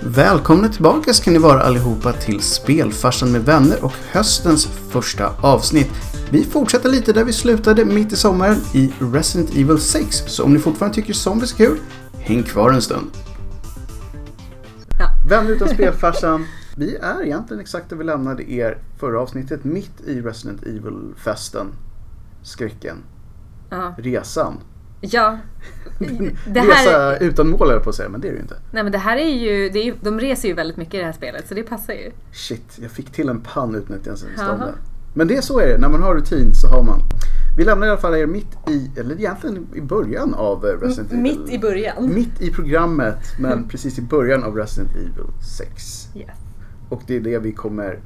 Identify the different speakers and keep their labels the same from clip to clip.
Speaker 1: Välkomna tillbaka ska ni vara allihopa till Spelfarsan med vänner och höstens första avsnitt. Vi fortsätter lite där vi slutade mitt i sommaren i Resident Evil 6, så om ni fortfarande tycker zombies är kul, häng kvar en stund.
Speaker 2: Ja.
Speaker 1: Vänner utan spelfarsan, vi är egentligen exakt där vi lämnade er förra avsnittet, mitt i Resident Evil-festen, skräcken,
Speaker 2: Ja.
Speaker 1: resan.
Speaker 2: ja. Det här,
Speaker 1: Resa utan mål höll jag på att säga, men det är det ju inte.
Speaker 2: nej men det här är ju, det är ju, de reser ju väldigt mycket i det här spelet så det passar ju.
Speaker 1: Shit, jag fick till en pann utan att jag ens visste om
Speaker 2: Jaha.
Speaker 1: det. Men det är så är det, när man har rutin så har man. Vi lämnar i alla fall er mitt i, eller egentligen i början av eh, Resident Evil.
Speaker 2: Mitt i början.
Speaker 1: Mitt i programmet, men precis i början av Resident Evil 6.
Speaker 2: Yes.
Speaker 1: Och det är det vi kommer,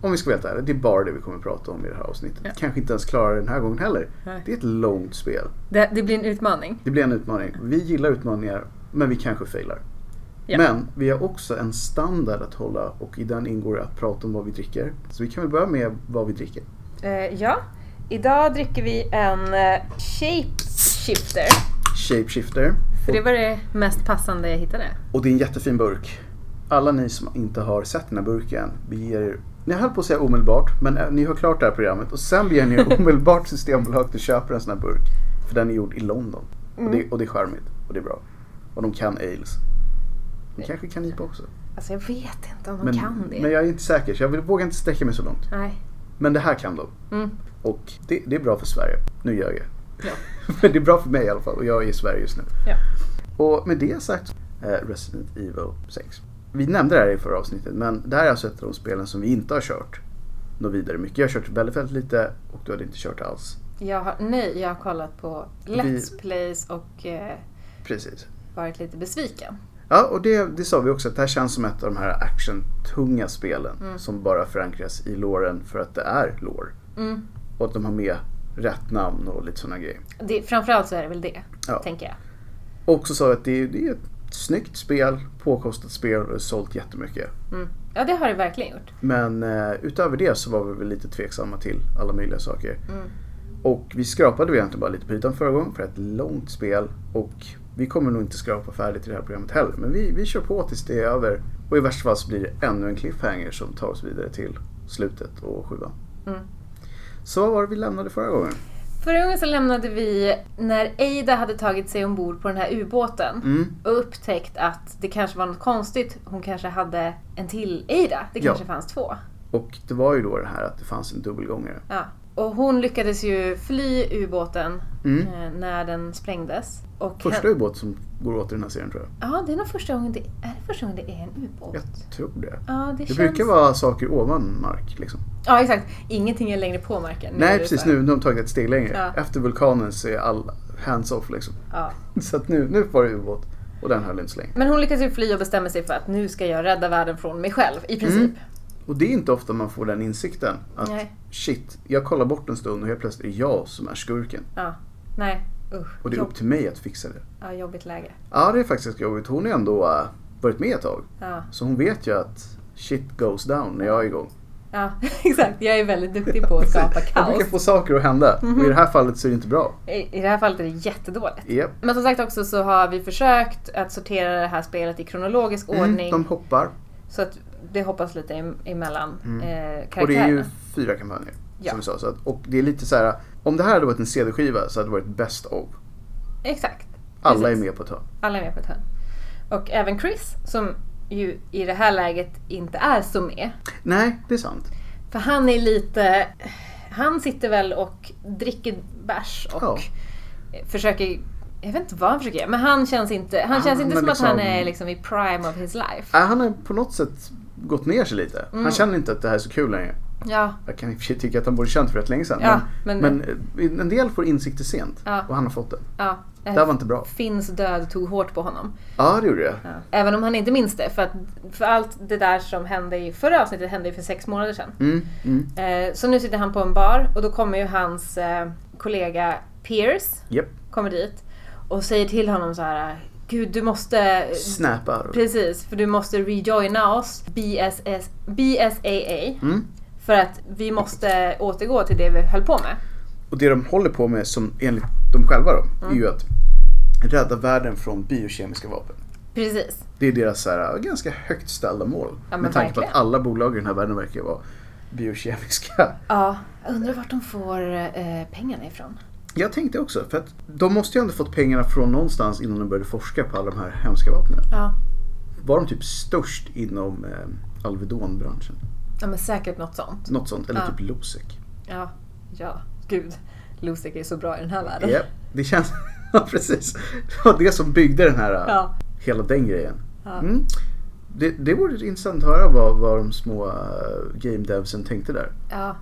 Speaker 1: om vi ska veta det, det är bara det vi kommer prata om i det här avsnittet.
Speaker 2: Ja.
Speaker 1: Kanske inte ens klarar den här gången heller.
Speaker 2: Nej.
Speaker 1: Det är ett långt spel.
Speaker 2: Det, det blir en utmaning.
Speaker 1: Det blir en utmaning. Vi gillar utmaningar, men vi kanske failar.
Speaker 2: Ja.
Speaker 1: Men vi har också en standard att hålla och i den ingår att prata om vad vi dricker. Så vi kan väl börja med vad vi dricker.
Speaker 2: Eh, ja, idag dricker vi en eh, shapeshifter.
Speaker 1: Shapeshifter.
Speaker 2: För det var det mest passande jag hittade.
Speaker 1: Och det är en jättefin burk. Alla ni som inte har sett den här burken, beger er ni höll på att säga omedelbart, men eh, ni har klart det här programmet och sen beger ni er omedelbart till Systembolaget och köper en sån här burk. För den är gjord i London.
Speaker 3: Mm.
Speaker 1: Och, det, och det är charmigt och det är bra. Och de kan ales. De kanske kan IPA också.
Speaker 2: Alltså jag vet inte om de
Speaker 1: Men,
Speaker 2: kan det.
Speaker 1: men jag är inte säker så jag vill, vågar inte sträcka mig så långt.
Speaker 2: Nej.
Speaker 1: Men det här kan de.
Speaker 2: Mm.
Speaker 1: Och det, det är bra för Sverige. Nu gör jag.
Speaker 2: Ja.
Speaker 1: Men det är bra för mig i alla fall och jag är i Sverige just nu.
Speaker 2: Ja.
Speaker 1: Och med det sagt, eh, Resident Evil 6. Vi nämnde det här i förra avsnittet men det här är alltså ett av de spelen som vi inte har kört något vidare mycket. Jag har kört väldigt, väldigt lite och du hade inte kört alls.
Speaker 3: Jag har, nej, jag har kollat på Let's Plays och eh,
Speaker 1: Precis.
Speaker 3: varit lite besviken.
Speaker 1: Ja, och det, det sa vi också att det här känns som ett av de här actiontunga spelen
Speaker 2: Mm.
Speaker 1: som bara förankras i låren för att det är lår.
Speaker 3: Mm.
Speaker 1: Och att de har med rätt namn och lite sådana grejer.
Speaker 3: Det, framförallt så är det väl det,
Speaker 1: Ja.
Speaker 3: tänker jag.
Speaker 1: Och så sa vi att det, är- det är ett snyggt spel, påkostat spel och det har sålt jättemycket.
Speaker 3: Mm. Ja, det har det verkligen gjort.
Speaker 1: Men eh, utöver det så var vi väl lite tveksamma till alla möjliga saker.
Speaker 3: Mm.
Speaker 1: Och vi skrapade väl egentligen bara lite på ytan förra gången för ett långt spel. Och vi kommer nog inte skrapa färdigt i det här programmet heller. Men vi, vi kör på tills det är över. Och i värsta fall så blir det ännu en cliffhanger som tar oss vidare till slutet och sjuan.
Speaker 3: Mm.
Speaker 1: Så vad var det vi lämnade förra gången?
Speaker 3: Förra gången så lämnade vi när Ada hade tagit sig ombord på den här ubåten
Speaker 1: Mm.
Speaker 3: och upptäckt att det kanske var något konstigt. Hon kanske hade en till Ada. Det
Speaker 1: Ja.
Speaker 3: kanske fanns två.
Speaker 1: Och det var ju då det här att det fanns en dubbelgångare.
Speaker 3: Ja. Och hon lyckades ju fly ubåten
Speaker 1: Mm.
Speaker 3: eh, när den sprängdes. Och
Speaker 1: Första
Speaker 3: hen-
Speaker 1: ubåt som går åt i den här serien tror jag.
Speaker 3: Ja, det är nog första gången det är, det första gången det är en ubåt.
Speaker 1: Jag tror det.
Speaker 3: Ja, det,
Speaker 1: Det
Speaker 3: känns...
Speaker 1: brukar vara saker ovan mark liksom.
Speaker 3: Ja, exakt. Ingenting är längre på marken. Nu är
Speaker 1: Nej
Speaker 3: det
Speaker 1: precis,
Speaker 3: så här-
Speaker 1: nu har de tagit ett steg längre.
Speaker 3: Ja.
Speaker 1: Efter vulkanen så är all hands off liksom.
Speaker 3: Ja.
Speaker 1: Så att nu, nu var det ubåt och den höll inte så länge.
Speaker 3: Men hon lyckas ju fly och bestämmer sig för att nu ska jag rädda världen från mig själv, i princip.
Speaker 1: Mm. Och det är inte ofta man får den insikten att
Speaker 3: Nej.
Speaker 1: shit, jag kollar bort en stund och helt plötsligt är jag som är skurken.
Speaker 3: Ja. Nej, usch.
Speaker 1: Och det är upp
Speaker 3: Jobb...
Speaker 1: till mig att fixa det.
Speaker 3: Ja, jobbigt läge.
Speaker 1: Ja, det är faktiskt ganska jobbigt. Hon har ändå äh, varit med ett tag.
Speaker 3: Ja,
Speaker 1: Så hon vet ju att shit goes down när jag är igång.
Speaker 3: ja exakt. Jag är väldigt duktig på att skapa
Speaker 1: Jag
Speaker 3: kaos. Mhm.
Speaker 1: brukar få saker att hända. Och i det här fallet så är det inte bra.
Speaker 3: I i det här fallet är det jättedåligt.
Speaker 1: Yep.
Speaker 3: Men som sagt också så har vi försökt att sortera det här spelet i kronologisk ordning.
Speaker 1: Mm, de hoppar.
Speaker 3: Så att det hoppas lite em- emellan eh,
Speaker 1: Mm. Och det är
Speaker 3: karaktärerna.
Speaker 1: ju fyra kampanjer.
Speaker 3: Ja.
Speaker 1: Som vi sa. Så att, och det är lite så här. Om det här hade varit en CD-skiva så hade det varit best of.
Speaker 3: Exakt.
Speaker 1: Alla
Speaker 3: Precis.
Speaker 1: är med på ett hörn.
Speaker 3: Alla är med på ett hörn. Och även Chris, som ju i det här läget inte är så med.
Speaker 1: Nej, det är sant.
Speaker 3: För han är lite... Han sitter väl och dricker bärs och
Speaker 1: Ja.
Speaker 3: försöker... Jag vet inte vad han försöker göra, men han känns inte, han
Speaker 1: Han
Speaker 3: känns inte
Speaker 1: är
Speaker 3: som
Speaker 1: liksom-
Speaker 3: att han är liksom i prime of his life.
Speaker 1: Äh, han har på något sätt gått ner sig lite.
Speaker 3: Mm.
Speaker 1: Han känner inte att det här är så kul längre.
Speaker 3: Ja,
Speaker 1: Jag kan i och för sig tycka att han borde känt för rätt länge sedan.
Speaker 3: Ja,
Speaker 1: men,
Speaker 3: men-
Speaker 1: men, eh, en del får insikter sent.
Speaker 3: Ja.
Speaker 1: Och han har fått det.
Speaker 3: ja.
Speaker 1: Det här var inte bra.
Speaker 3: Finns död tog hårt på honom.
Speaker 1: Ja, det gjorde det.
Speaker 3: Ja. Även om han inte minns det, för, att, för allt det där som hände i förra avsnittet hände ju för sex månader sedan.
Speaker 1: Mm, mm.
Speaker 3: Eh, Så nu sitter han på en bar och då kommer ju hans eh, kollega Pierce
Speaker 1: Japp.
Speaker 3: kommer dit och säger till honom så här Gud du måste...
Speaker 1: Snappar.
Speaker 3: Precis, för du måste rejoina oss BSS, BSAA
Speaker 1: Mm.
Speaker 3: för att vi måste återgå till det vi höll på med.
Speaker 1: Och det de håller på
Speaker 3: Mm.
Speaker 1: med, som enligt dem själva då, är ju att rädda världen från biokemiska vapen.
Speaker 3: Precis.
Speaker 1: Det är deras så här, äh, ganska högt ställda mål.
Speaker 3: Ja, men
Speaker 1: med tanke på att
Speaker 3: verkligen.
Speaker 1: alla bolag i den här världen verkar vara biokemiska.
Speaker 3: Ja, jag undrar vart de får eh, pengarna ifrån.
Speaker 1: Jag tänkte också, för att de måste ju ändå fått pengarna från någonstans innan de började forska på alla de här hemska vapnen.
Speaker 3: Ja.
Speaker 1: Var de typ störst inom eh, Alvedon-branschen?
Speaker 3: ja, men säkert något sånt.
Speaker 1: Något sånt, eller
Speaker 3: Ja.
Speaker 1: typ Losec.
Speaker 3: Ja, ja. Gud, Lusik är så bra i den här världen.
Speaker 1: Japp, det känns... ja, precis. Det var det som byggde den här, äh,
Speaker 3: Ja.
Speaker 1: hela den grejen.
Speaker 3: Ja.
Speaker 1: Mm. Det, det vore intressant att höra vad, vad de små eh, game devsen tänkte där.
Speaker 3: ja,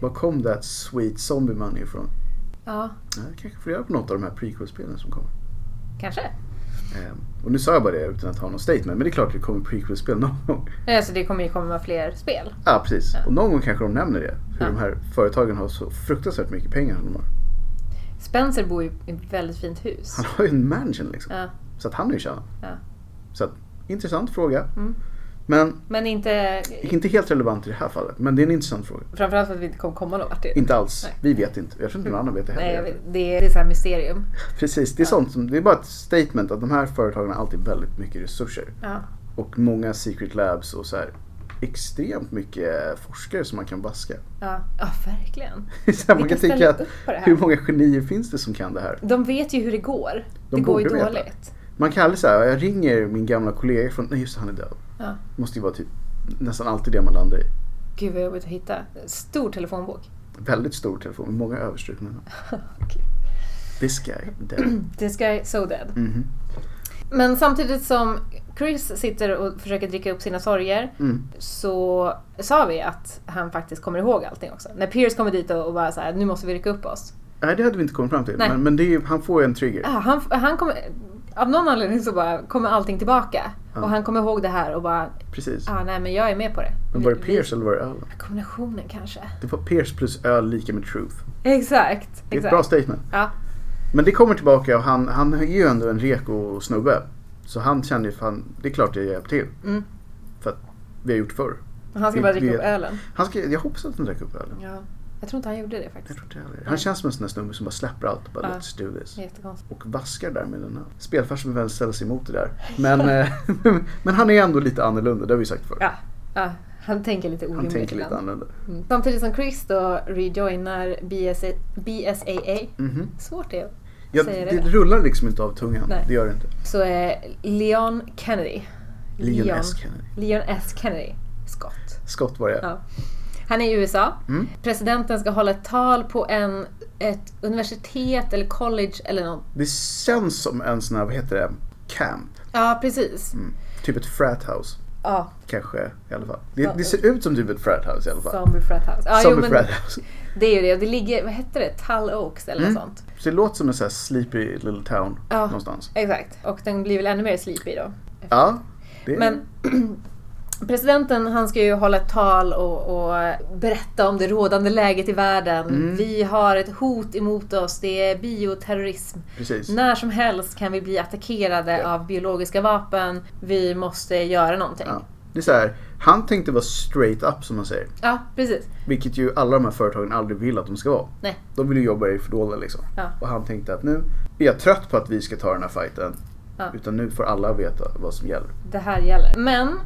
Speaker 1: Var kom that sweet zombie money ifrån?
Speaker 3: ja,
Speaker 1: Ja, Jag kanske får göra på något av de här prequel-spelen som kommer.
Speaker 3: kanske.
Speaker 1: Eh, Och nu sa jag bara det utan att ha någon statement, men det är klart att det kommer prequel-spel någon gång.
Speaker 3: Nej, Alltså det kommer ju komma fler spel.
Speaker 1: Ja, precis.
Speaker 3: Ja.
Speaker 1: Och någon gång kanske de nämner det. Hur
Speaker 3: Ja.
Speaker 1: de här företagen har så fruktansvärt mycket pengar som de har.
Speaker 3: Spencer bor ju i ett väldigt fint hus.
Speaker 1: Han har ju en mansion liksom.
Speaker 3: Ja,
Speaker 1: Så att han har ju tjänat.
Speaker 3: Ja.
Speaker 1: Så att, intressant fråga.
Speaker 3: Mm.
Speaker 1: Men
Speaker 3: men inte...
Speaker 1: inte helt relevant i det här fallet. Men det är en intressant fråga.
Speaker 3: Framförallt för att vi inte kommer komma någon vart. Det-
Speaker 1: Inte alls.
Speaker 3: Nej.
Speaker 1: Vi vet inte. Jag tror inte någon annan vet det heller.
Speaker 3: Nej, jag vet, det är, det är så här mysterium.
Speaker 1: Precis, det är
Speaker 3: Ja.
Speaker 1: sånt som, det är bara ett statement att de här företagen har alltid väldigt mycket resurser.
Speaker 3: Ja.
Speaker 1: Och många secret labs och så här extremt mycket forskare som man kan vaska.
Speaker 3: Ja, ja verkligen.
Speaker 1: Så här,
Speaker 3: Vi
Speaker 1: man
Speaker 3: kan
Speaker 1: kan
Speaker 3: ställa
Speaker 1: tycka
Speaker 3: upp
Speaker 1: att
Speaker 3: på det här.
Speaker 1: hur många genier finns det som kan det här?
Speaker 3: De vet ju hur det går.
Speaker 1: De
Speaker 3: det går ju
Speaker 1: borde veta.
Speaker 3: dåligt.
Speaker 1: Man kan aldrig säga, jag ringer min gamla kollega från, nej just det, han är död.
Speaker 3: Ja.
Speaker 1: Måste ju vara typ nästan alltid det man landar i.
Speaker 3: Gud vad jobbigt att hitta. Stor telefonbok.
Speaker 1: Väldigt stor telefon med många överstrukna.
Speaker 3: Okej.
Speaker 1: This guy, dead.
Speaker 3: This guy so dead.
Speaker 1: Mhm.
Speaker 3: Men samtidigt som Chris sitter och försöker dricka upp sina sorger
Speaker 1: Mm.
Speaker 3: så sa vi att han faktiskt kommer ihåg allting också. När Pierce kommer dit och och bara så här, nu måste vi rycka upp oss.
Speaker 1: Nej det hade vi inte kommit fram till.
Speaker 3: Nej.
Speaker 1: Men, men det är ju, han får ju en trigger.
Speaker 3: Ah, han, han kommer, av någon anledning så bara kommer allting tillbaka.
Speaker 1: Ja.
Speaker 3: Och han kommer ihåg det här och bara,
Speaker 1: Precis.
Speaker 3: ah, nej men jag är med på det.
Speaker 1: Men var det
Speaker 3: Vi-
Speaker 1: Pierce eller var det Allen?
Speaker 3: vi- Kombinationen kanske.
Speaker 1: Det var Pierce plus öl lika med truth.
Speaker 3: Exakt.
Speaker 1: Det är ett
Speaker 3: exakt.
Speaker 1: bra statement.
Speaker 3: Ja.
Speaker 1: Men det kommer tillbaka och han, han är ju ändå en reko snubbe. Så han känner ju fan, det är klart jag hjälper till.
Speaker 3: Mm.
Speaker 1: För att vi har gjort förr.
Speaker 3: Han ska
Speaker 1: Vi-
Speaker 3: bara dricka
Speaker 1: vi-
Speaker 3: upp ölen.
Speaker 1: Han ska, jag hoppas att han drack upp ölen.
Speaker 3: Ja. Jag tror inte han gjorde det
Speaker 1: Jag
Speaker 3: faktiskt.
Speaker 1: tror inte heller. Han känns som en sån där snubbe som bara släpper allt och bara
Speaker 3: Ja.
Speaker 1: let's do this.
Speaker 3: Jättekonstigt.
Speaker 1: Och vaskar där med den här. Spelfarsen behöver ställa sig emot det där. Men, eh, men han är ändå lite annorlunda, det har vi sagt förr.
Speaker 3: Ja. ja. Han tänker lite
Speaker 1: Han
Speaker 3: orimligt
Speaker 1: tänker lite
Speaker 3: ibland.
Speaker 1: annorlunda.
Speaker 3: Mm. Samtidigt som Chris då rejoinar BSA, BSAA,
Speaker 1: Mhm.
Speaker 3: svårt det är,
Speaker 1: Ja,
Speaker 3: Säger
Speaker 1: det,
Speaker 3: det.
Speaker 1: rullar liksom inte av tungan.
Speaker 3: Nej.
Speaker 1: Det gör det inte.
Speaker 3: så är Leon Kennedy.
Speaker 1: Leon S. Kennedy.
Speaker 3: Leon S. Kennedy. Scott.
Speaker 1: Skott var det.
Speaker 3: Ja. Han är i USA.
Speaker 1: Mm.
Speaker 3: Presidenten ska hålla ett tal på en, ett universitet eller college eller något.
Speaker 1: Det känns som en sån här, vad heter det, camp.
Speaker 3: Ja, precis.
Speaker 1: Mm. Typ ett frat house.
Speaker 3: Ja,
Speaker 1: Kanske i alla fall. Det,
Speaker 3: Ja.
Speaker 1: det ser ut som typ ett frat house i alla fall.
Speaker 3: Zombie Frat House. Ja,
Speaker 1: som
Speaker 3: jo,
Speaker 1: ett
Speaker 3: men
Speaker 1: frat house.
Speaker 3: det är ju det. Det ligger, vad hette det? Tull Oaks eller något sånt.
Speaker 1: Så det låter som en sån här sleepy little town
Speaker 3: Ja.
Speaker 1: någonstans.
Speaker 3: Exakt. Och den blir väl ännu mer sleepy då.
Speaker 1: Mm. Ja. Det är,
Speaker 3: Men presidenten han ska ju hålla ett tal och, och berätta om det rådande läget i världen.
Speaker 1: Mm.
Speaker 3: Vi har ett hot emot oss, det är bioterrorism.
Speaker 1: Precis.
Speaker 3: När som helst kan vi bli attackerade
Speaker 1: Ja.
Speaker 3: av biologiska vapen. Vi måste göra någonting. Ja,
Speaker 1: Ja. Det är så här, han tänkte vara straight up som man säger.
Speaker 3: precis.
Speaker 1: Vilket ju alla de här företagen aldrig vill att de ska vara.
Speaker 3: Nej.
Speaker 1: De vill ju jobba i det fördolda liksom.
Speaker 3: Ja.
Speaker 1: Och han tänkte att nu är jag trött på att vi ska ta den här fighten.
Speaker 3: Ja.
Speaker 1: Utan nu får alla veta vad som gäller.
Speaker 3: Det här gäller. Men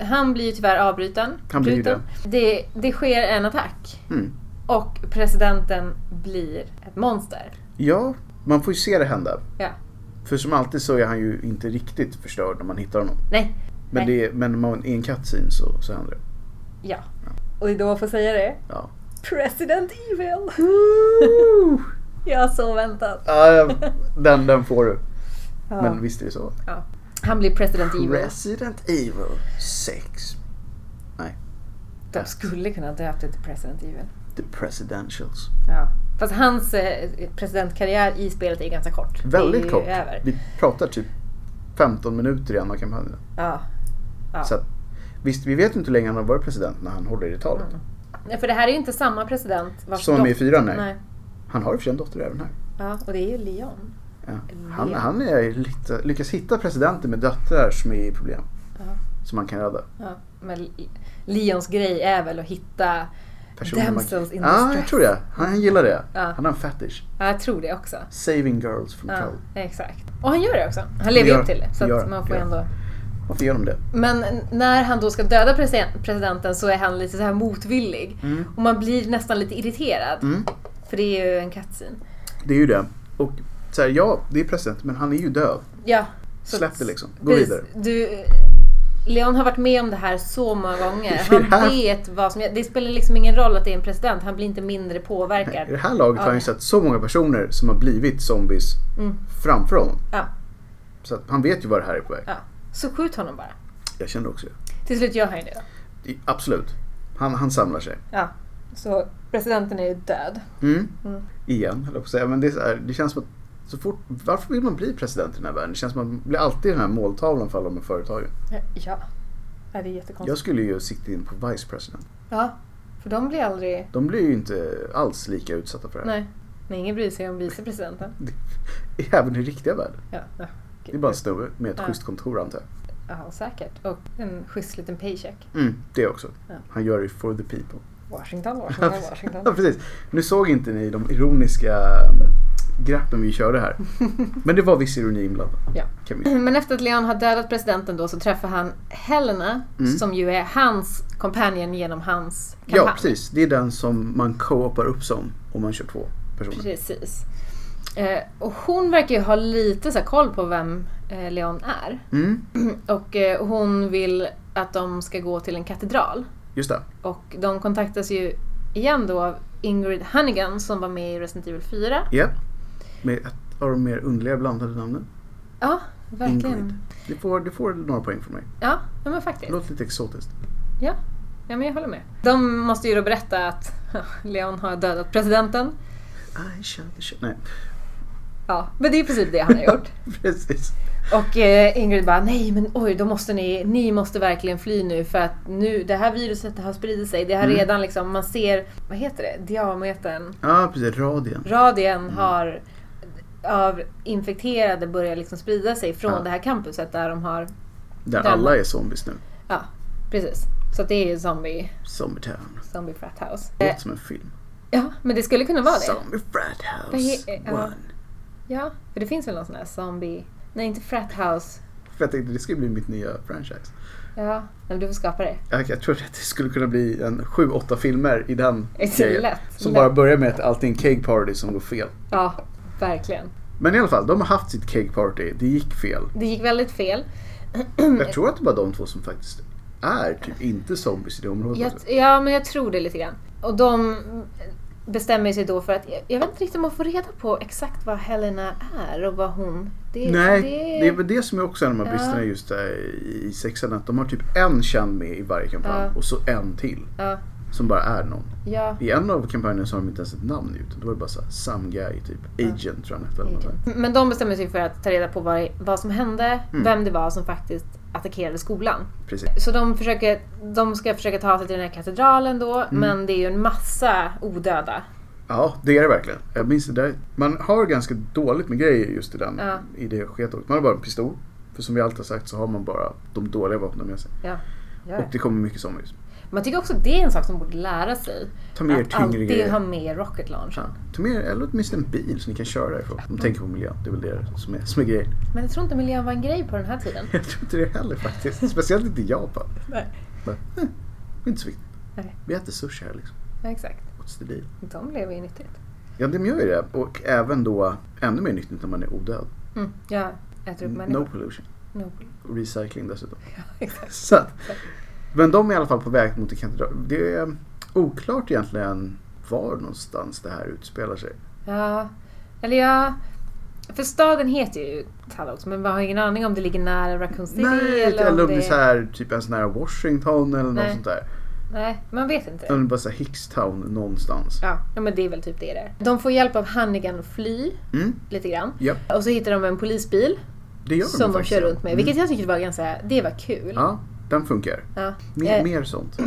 Speaker 3: han blir ju tyvärr avbruten.
Speaker 1: Han blir ju
Speaker 3: bruten. det. Det sker en attack.
Speaker 1: Mm.
Speaker 3: Och presidenten blir ett monster.
Speaker 1: Ja, man får ju se det hända.
Speaker 3: Ja.
Speaker 1: För som alltid så är han ju inte riktigt förstörd när man hittar honom.
Speaker 3: Nej.
Speaker 1: Men,
Speaker 3: Nej.
Speaker 1: det är, men man, i en cutscene så, så händer det.
Speaker 3: Ja. Och det är då jag får säga det.
Speaker 1: Ja.
Speaker 3: President Evil! jag har så väntat.
Speaker 1: Ja, den, den får du.
Speaker 3: Ja.
Speaker 1: Men visst är det så.
Speaker 3: Ja. Han blir President Evil.
Speaker 1: Resident Evil 6.
Speaker 3: De skulle kunna döpt det till President Evil.
Speaker 1: The Presidentials.
Speaker 3: Ja. Fast hans eh, presidentkarriär i spelet är ganska kort. det är
Speaker 1: Väldigt
Speaker 3: ju
Speaker 1: kort.
Speaker 3: Över.
Speaker 1: Vi pratar typ 15 minuter i andra kampanjen.
Speaker 3: Ja. Ja.
Speaker 1: Så att, visst, vi vet inte hur länge han har varit president när han håller i det talet.
Speaker 3: Mm. Nej, För det här är ju inte samma president vars
Speaker 1: Som är med i
Speaker 3: dotter-
Speaker 1: fyran, nej.
Speaker 3: nej.
Speaker 1: Han har i och för sig en dotter även här.
Speaker 3: Ja, och det är ju Leon.
Speaker 1: Ja. Han,
Speaker 3: Leon.
Speaker 1: han är lite, lyckas hitta presidenter med döttrar som är i problem.
Speaker 3: Ja.
Speaker 1: Som man kan rädda.
Speaker 3: Ja. Men Leons grej är väl att hitta
Speaker 1: personer man-
Speaker 3: Damsels in
Speaker 1: ah, jag
Speaker 3: distress.
Speaker 1: tror det. Han gillar det.
Speaker 3: Ja.
Speaker 1: Han har en fetish.
Speaker 3: Ja, jag tror det också.
Speaker 1: Saving girls from
Speaker 3: Ja,
Speaker 1: hell.
Speaker 3: exakt. Och han gör det också. Han lever ju
Speaker 1: Gör-
Speaker 3: upp till det. Så
Speaker 1: gör-
Speaker 3: att man får
Speaker 1: gör.
Speaker 3: ändå...
Speaker 1: Varför gör de det?
Speaker 3: Men när han då ska döda presen- presidenten så är han lite så här motvillig.
Speaker 1: Mm.
Speaker 3: Och man blir nästan lite irriterad.
Speaker 1: Mm.
Speaker 3: För det är ju en kattsin.
Speaker 1: Det är ju det. Och så här, ja, det är president, men han är ju död.
Speaker 3: Ja. så-
Speaker 1: Släpp det liksom. Gå
Speaker 3: Precis.
Speaker 1: vidare.
Speaker 3: Du, Leon har varit med om det här så många gånger.
Speaker 1: I
Speaker 3: Han
Speaker 1: det här-
Speaker 3: vet vad som... Det spelar liksom ingen roll att det är en president. Han blir inte mindre påverkad.
Speaker 1: I det här laget
Speaker 3: Ja.
Speaker 1: har han ju sett så många personer som har blivit zombies
Speaker 3: Mm.
Speaker 1: framför honom.
Speaker 3: Ja.
Speaker 1: Så att han vet ju var det här är på väg.
Speaker 3: Ja. Så skjut honom bara.
Speaker 1: Jag känner också det.
Speaker 3: Till slut gör han ju det. då.
Speaker 1: I- Absolut. Han, han samlar sig.
Speaker 3: Ja. Så presidenten är ju död.
Speaker 1: Mm.
Speaker 3: Mm.
Speaker 1: Igen, höll jag på att säga. Men det, är så här, det känns som att så fort, varför vill man bli president i den här världen? Det känns som att man blir alltid den här måltavlan för alla de här företagen.
Speaker 3: Mm. Ja. Ja, det är jättekonstigt.
Speaker 1: Jag skulle ju sikta in på vice president.
Speaker 3: Ja. För de blir aldrig...
Speaker 1: De blir ju inte alls lika utsatta för det här.
Speaker 3: Nej. Men ingen bryr sig om vicepresidenten.
Speaker 1: Även i riktiga världen.
Speaker 3: Ja. ja.
Speaker 1: Det är bara en snubbe med ett
Speaker 3: Ja.
Speaker 1: schysst kontor antar jag.
Speaker 3: Ja, säkert. Och en schysst liten paycheck.
Speaker 1: Mm, det också.
Speaker 3: Ja.
Speaker 1: Han gör det for the people.
Speaker 3: Washington, Washington, Washington.
Speaker 1: Ja, precis. Nu såg inte ni de ironiska mm, greppen vi körde här. Men det var viss ironi inblandad.
Speaker 3: Ja.
Speaker 1: Kan vi...
Speaker 3: Men efter att Leon har dödat presidenten då så träffar han Helena
Speaker 1: Mm.
Speaker 3: som ju är hans companion genom hans kampanj.
Speaker 1: ja, precis. Det är den som man co-opar upp som om man kör två personer.
Speaker 3: Precis. Eh, och hon verkar ju ha lite så här koll på vem eh, Leon är.
Speaker 1: Mm,
Speaker 3: Och eh, hon vill att de ska gå till en katedral.
Speaker 1: just det.
Speaker 3: Och de kontaktas ju igen då av Ingrid Hannigan som var med i Resident Evil 4.
Speaker 1: Ja. Med ett av de mer underliga blandade namnen.
Speaker 3: Ja, verkligen.
Speaker 1: Ingrid. Det får, det får några poäng från mig.
Speaker 3: Ja, ja, men
Speaker 1: Det
Speaker 3: faktiskt.
Speaker 1: låter lite exotiskt.
Speaker 3: Ja. ja, men jag håller med. De måste ju då berätta att Leon har dödat presidenten.
Speaker 1: I shall the shit. Nej,
Speaker 3: Ja, men det är i princip det han har gjort.
Speaker 1: precis.
Speaker 3: Och eh, Ingrid bara, nej men oj, då måste ni, ni måste verkligen fly nu för att nu, det här viruset har spridit sig. Det har
Speaker 1: Mm.
Speaker 3: redan liksom, man ser, vad heter det, diametern,
Speaker 1: Ja, precis. Radien.
Speaker 3: radien
Speaker 1: Mm.
Speaker 3: har av infekterade börjar liksom sprida sig från
Speaker 1: Ja.
Speaker 3: det här campuset där de har,
Speaker 1: Där
Speaker 3: Den.
Speaker 1: alla är zombies nu.
Speaker 3: ja, precis. Så att det är ju zombie,
Speaker 1: Zombie Town.
Speaker 3: zombie frat house. Eh,
Speaker 1: Låter som en film.
Speaker 3: ja, men det skulle kunna vara det.
Speaker 1: Zombie Frat
Speaker 3: Vad
Speaker 1: House
Speaker 3: he- eh, ja.
Speaker 1: 1.
Speaker 3: Ja, för det finns väl någon sån här zombie, nej inte frat house.
Speaker 1: För jag tänkte det skulle bli mitt nya franchise.
Speaker 3: Ja, nej, men du får skapa det.
Speaker 1: Jag, jag tror att det skulle kunna bli en 7-8 filmer i den grejen.
Speaker 3: Lätt.
Speaker 1: Som
Speaker 3: lätt.
Speaker 1: bara börjar med att allt är en cake party som går fel.
Speaker 3: Ja, verkligen.
Speaker 1: Men i alla fall, de har haft sitt cake party. Det gick fel.
Speaker 3: Det gick väldigt fel. Mm.
Speaker 1: Jag tror att det bara de två som faktiskt är typ inte zombies i det området.
Speaker 3: Jag, ja, men jag tror det lite grann. Och de bestämmer sig då för att, jag, jag vet inte riktigt om man får reda på exakt vad Helena är och vad hon... Det,
Speaker 1: Nej,
Speaker 3: det-
Speaker 1: det är väl det som är också en av de här
Speaker 3: Ja.
Speaker 1: bristerna just där i i sexan. Att de har typ en känd med i varje kampanj
Speaker 3: Ja.
Speaker 1: och så en till
Speaker 3: Ja,
Speaker 1: som bara är någon.
Speaker 3: ja.
Speaker 1: I en av kampanjerna så har de inte ens ett namn utan då var det bara såhär some guy, typ agent tror jag han hette eller något sånt.
Speaker 3: Men de bestämmer sig för att ta reda på vad, vad som hände,
Speaker 1: Mm.
Speaker 3: vem det var som faktiskt attackerade skolan.
Speaker 1: Precis.
Speaker 3: Så de, försöker, de ska försöka ta sig till den här katedralen då,
Speaker 1: Mm.
Speaker 3: men det är ju en massa odöda.
Speaker 1: Ja, det är det verkligen. Jag minns det där. Man har ganska dåligt med grejer just i, den,
Speaker 3: Ja.
Speaker 1: i det skedet. Man har bara en pistol. För som vi alltid har sagt så har man bara de dåliga vapnen med sig.
Speaker 3: Ja. Ja.
Speaker 1: Och det kommer mycket zombies.
Speaker 3: Man tycker också att det är en sak som borde lära sig.
Speaker 1: Ta med er
Speaker 3: att
Speaker 1: tyngre
Speaker 3: alltid
Speaker 1: grejer.
Speaker 3: ha med rocket launchen.
Speaker 1: Ja. Ta med er, eller åtminstone en bil som ni kan köra ifrån. De tänker på miljön. Det är väl det som är, som är grejen.
Speaker 3: Men jag tror inte miljön var en grej på den här tiden.
Speaker 1: Jag tror inte det heller faktiskt. Speciellt inte i Japan.
Speaker 3: Nej.
Speaker 1: Men, eh, det är inte så viktigt.
Speaker 3: Nej.
Speaker 1: Vi äter sushi här liksom.
Speaker 3: Ja, exakt.
Speaker 1: What's the deal?
Speaker 3: De lever ju nyttigt.
Speaker 1: Ja, de gör ju det. Och även då ännu mer nyttigt när man är odöd.
Speaker 3: Mm. Jag äter upp människor.
Speaker 1: No pollution.
Speaker 3: No.
Speaker 1: Och recycling dessutom.
Speaker 3: exakt.
Speaker 1: Så att, men de är i alla fall på väg mot en katedral. Det är oklart egentligen var någonstans det här utspelar sig.
Speaker 3: Ja. Eller ja. För staden heter ju Tallows men man har ingen aning om det ligger nära Raccoon City
Speaker 1: Nej,
Speaker 3: eller, om det
Speaker 1: är så här, typ ens nära Washington eller något
Speaker 3: Nej.
Speaker 1: sånt där.
Speaker 3: Nej, man vet inte.
Speaker 1: Eller bara så här Hickstown någonstans.
Speaker 3: Ja, ja, men det är väl typ det det är. De får hjälp av Hannigan att fly
Speaker 1: Mm,
Speaker 3: lite grann.
Speaker 1: ja,
Speaker 3: Och så hittar de en polisbil
Speaker 1: det gör
Speaker 3: som de
Speaker 1: faktiskt,
Speaker 3: kör
Speaker 1: ja. Mm.
Speaker 3: runt med. Vilket jag tycker var ganska, det var kul.
Speaker 1: Ja, den funkar.
Speaker 3: Ja.
Speaker 1: Mer,
Speaker 3: Eh.
Speaker 1: mer sånt.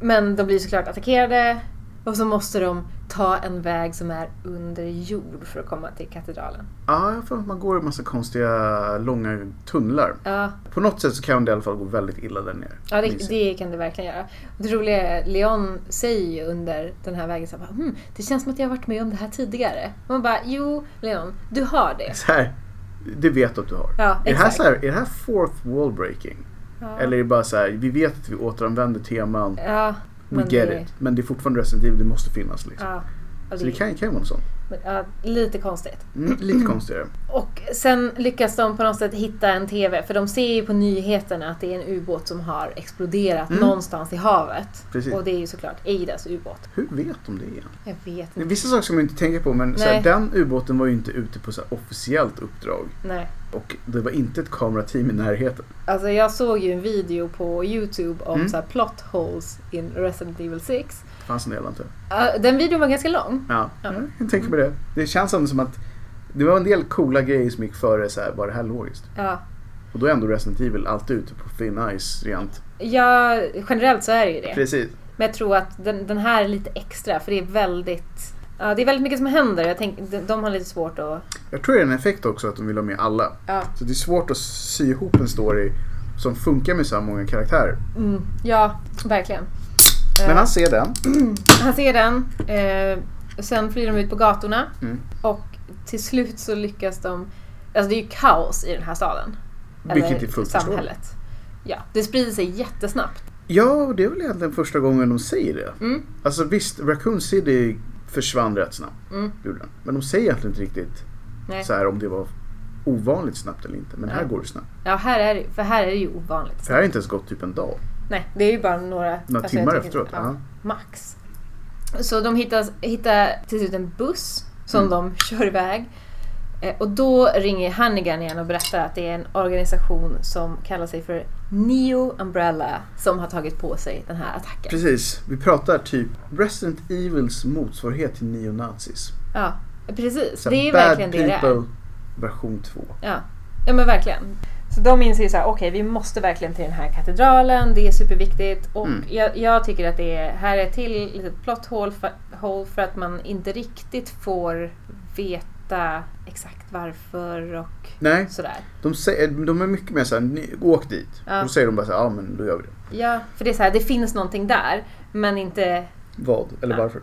Speaker 3: Men de blir såklart attackerade Och så måste de ta en väg som är under jord för att komma till katedralen.
Speaker 1: Ja, jag har för mig att man går i massa konstiga långa tunnlar.
Speaker 3: Ja,
Speaker 1: På något sätt så kan det i alla fall gå väldigt illa där nere.
Speaker 3: ja
Speaker 1: Minns
Speaker 3: det,
Speaker 1: jag.
Speaker 3: det kan det verkligen göra. Och det roliga är, Leon säger ju under den här vägen så här, bara, hm, det känns som att jag har varit med om det här tidigare. Och man bara, jo Leon, du har det.
Speaker 1: Så här, det vet du att du har.
Speaker 3: Ja,
Speaker 1: är, det här
Speaker 3: exakt.
Speaker 1: så här, är det här fourth wall breaking?
Speaker 3: Ja.
Speaker 1: Eller är det bara så här, vi vet att vi återanvänder teman,
Speaker 3: Ja,
Speaker 1: we get it. Men det är fortfarande Resident Evil, det måste finnas liksom.
Speaker 3: Ja, och
Speaker 1: Så det
Speaker 3: det,
Speaker 1: kan, kan ju vara något sånt.
Speaker 3: men, ja, lite konstigt.
Speaker 1: Mm, lite konstigare.
Speaker 3: Och sen lyckas de på något sätt hitta en TV, för de ser ju på nyheterna att det är en ubåt som har exploderat
Speaker 1: Mm.
Speaker 3: någonstans i havet.
Speaker 1: Precis.
Speaker 3: Och det är ju såklart Eidas ubåt.
Speaker 1: Hur vet de det igen?
Speaker 3: Jag vet inte.
Speaker 1: Vissa saker ska man ju inte tänka på men så här,
Speaker 3: Nej.
Speaker 1: den ubåten var ju inte ute på så här, officiellt uppdrag.
Speaker 3: Nej.
Speaker 1: Och det var inte ett kamerateam i närheten.
Speaker 3: Alltså jag såg ju en video på Youtube om
Speaker 1: Mm.
Speaker 3: så här plot holes in Resident Evil 6.
Speaker 1: Det fanns en del antar jag.
Speaker 3: Ja, den videon var ganska lång.
Speaker 1: Ja,
Speaker 3: Ja.
Speaker 1: jag kan tänka mig det. Det känns ändå som att det var en del coola grejer som gick före så här, var det här logiskt?
Speaker 3: Ja.
Speaker 1: Och då är ändå Resident Evil alltid ute på thin ice rent.
Speaker 3: ja, generellt så är det ju det.
Speaker 1: Precis.
Speaker 3: Men jag tror att den, den här är lite extra för det är väldigt Ja, det är väldigt mycket som händer. Jag tänk, de, de har lite svårt att...
Speaker 1: Jag tror det är en effekt också att de vill ha med alla.
Speaker 3: Ja,
Speaker 1: Så det är svårt att sy ihop en story som funkar med så här många karaktärer.
Speaker 3: mm, ja verkligen. Eh,
Speaker 1: Men han ser den.
Speaker 3: han ser den. Eh, och sen flyr de ut på gatorna.
Speaker 1: Mm.
Speaker 3: Och till slut så lyckas de... Alltså det är ju kaos i den här staden.
Speaker 1: Vilket är fullt förståeligt.
Speaker 3: samhället. Ja, det sprider sig jättesnabbt.
Speaker 1: Ja, och det är väl egentligen första gången de säger det.
Speaker 3: Mm.
Speaker 1: Alltså visst, Raccoon City försvann rätt snabbt.
Speaker 3: Mm.
Speaker 1: Gjorde den. Men de säger egentligen inte riktigt
Speaker 3: Nej.
Speaker 1: så här om det var ovanligt snabbt eller inte. Men här
Speaker 3: Nej.
Speaker 1: går det snabbt.
Speaker 3: Ja, här är det, för här är det ju ovanligt.
Speaker 1: För här har inte ens gått typ en dag.
Speaker 3: Nej, det är ju bara några...
Speaker 1: Några
Speaker 3: alltså, jag
Speaker 1: timmar
Speaker 3: tycker-
Speaker 1: efteråt.
Speaker 3: ja,
Speaker 1: Ja.
Speaker 3: Max. Så de hittar, hittar till slut en buss som
Speaker 1: Mm.
Speaker 3: de kör iväg. Eh, Och då ringer Hannigan igen och berättar att det är en organisation som kallar sig för Neo Umbrella som har tagit på sig den här attacken.
Speaker 1: Precis, vi pratar typ Resident Evils motsvarighet till neonazis.
Speaker 3: Ja, precis.
Speaker 1: Så
Speaker 3: Det är ju
Speaker 1: bad
Speaker 3: verkligen det det är.
Speaker 1: people version 2.
Speaker 3: Ja. ja, men verkligen. Så de inser ju så här, okej vi måste verkligen till den här katedralen, det är superviktigt. Och
Speaker 1: Mm.
Speaker 3: jag, jag tycker att det är, här är ett till litet plot hole för, hole för att man inte riktigt får veta exakt varför och
Speaker 1: Nej,
Speaker 3: sådär.
Speaker 1: de, säger, de är mycket mer såhär, "Ni- åk dit.
Speaker 3: Ja.
Speaker 1: Och då säger de bara såhär, ja men då gör vi det.
Speaker 3: Ja, för det är så här, det finns någonting där, men inte...
Speaker 1: Vad eller
Speaker 3: Ja.
Speaker 1: varför.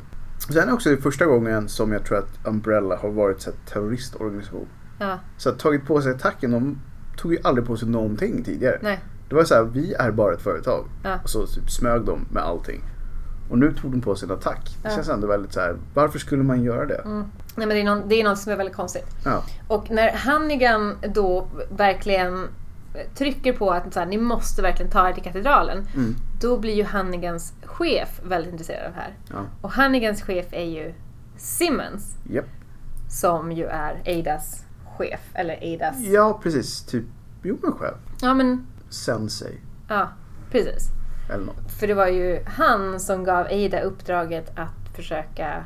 Speaker 1: Sen är också det första gången som jag tror att Umbrella har varit så här, terroristorganisation.
Speaker 3: Ja,
Speaker 1: Så att tagit på sig attacken, de tog ju aldrig på sig någonting tidigare.
Speaker 3: nej.
Speaker 1: Det var så här, vi är bara ett företag.
Speaker 3: Ja.
Speaker 1: Och så typ smög de med allting. Och nu tog de på sig en attack. Det
Speaker 3: Ja.
Speaker 1: känns ändå väldigt så här, varför skulle man göra det?
Speaker 3: Mm. Nej men det är, någon, det är något som är väldigt konstigt.
Speaker 1: Ja.
Speaker 3: Och när Hannigan då verkligen trycker på att så här, ni måste verkligen ta er till katedralen.
Speaker 1: Mm.
Speaker 3: Då blir ju Hannigans chef väldigt intresserad av det här.
Speaker 1: Ja.
Speaker 3: Och Hannigans chef är ju Simmons
Speaker 1: Japp.
Speaker 3: som ju är Eidas chef. Eller Eidas...
Speaker 1: ja, precis. Typ, jo men själv.
Speaker 3: Ja men,
Speaker 1: Sensei.
Speaker 3: ja precis.
Speaker 1: Eller något.
Speaker 3: För det var ju han som gav Eida uppdraget att försöka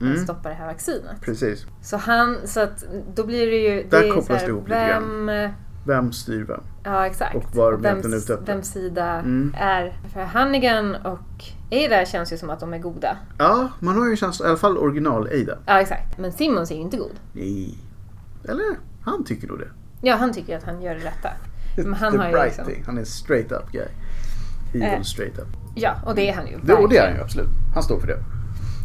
Speaker 1: Mm.
Speaker 3: stoppa det här vaccinet.
Speaker 1: Precis.
Speaker 3: Så han, så att då blir det ju...
Speaker 1: Där
Speaker 3: är så
Speaker 1: kopplas
Speaker 3: här,
Speaker 1: det ihop lite
Speaker 3: vem, grann.
Speaker 1: Vem styr vem?
Speaker 3: Ja, exakt.
Speaker 1: Och var de
Speaker 3: vems,
Speaker 1: egentligen ute efter?
Speaker 3: vems sida
Speaker 1: Mm.
Speaker 3: är... För Hannigan och Ada känns ju som att de är goda.
Speaker 1: Ja, man har ju en känsla, i alla fall original-Ada.
Speaker 3: Ja, exakt. Men Simons är ju inte god.
Speaker 1: Nej. Eller? Han tycker nog det.
Speaker 3: Ja, han tycker ju att han gör det rätta. Men han
Speaker 1: The
Speaker 3: har ju
Speaker 1: bright
Speaker 3: liksom-
Speaker 1: thing. Han är straight up guy. Evil
Speaker 3: Eh.
Speaker 1: straight up.
Speaker 3: Ja, och det är han ju.
Speaker 1: Det, och det är
Speaker 3: verkligen.
Speaker 1: han ju absolut. Han står för det.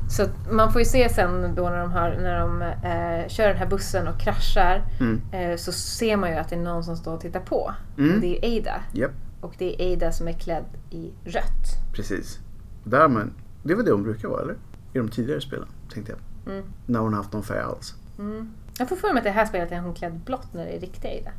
Speaker 3: Så att man får ju se sen då när de, har, när de eh, kör den här bussen och kraschar.
Speaker 1: Mm.
Speaker 3: Eh, så ser man ju att det är någon som står och tittar på.
Speaker 1: Mm.
Speaker 3: Och det är ju Ada.
Speaker 1: Japp,
Speaker 3: Och det är Ada som är klädd i rött.
Speaker 1: precis. Där men, det var det hon brukar vara eller? I de tidigare spelen, tänkte jag.
Speaker 3: Mm.
Speaker 1: När hon har haft någon färg alls.
Speaker 3: Jag får för mig att det här spelet är hon klädd blått när det är riktiga Ada.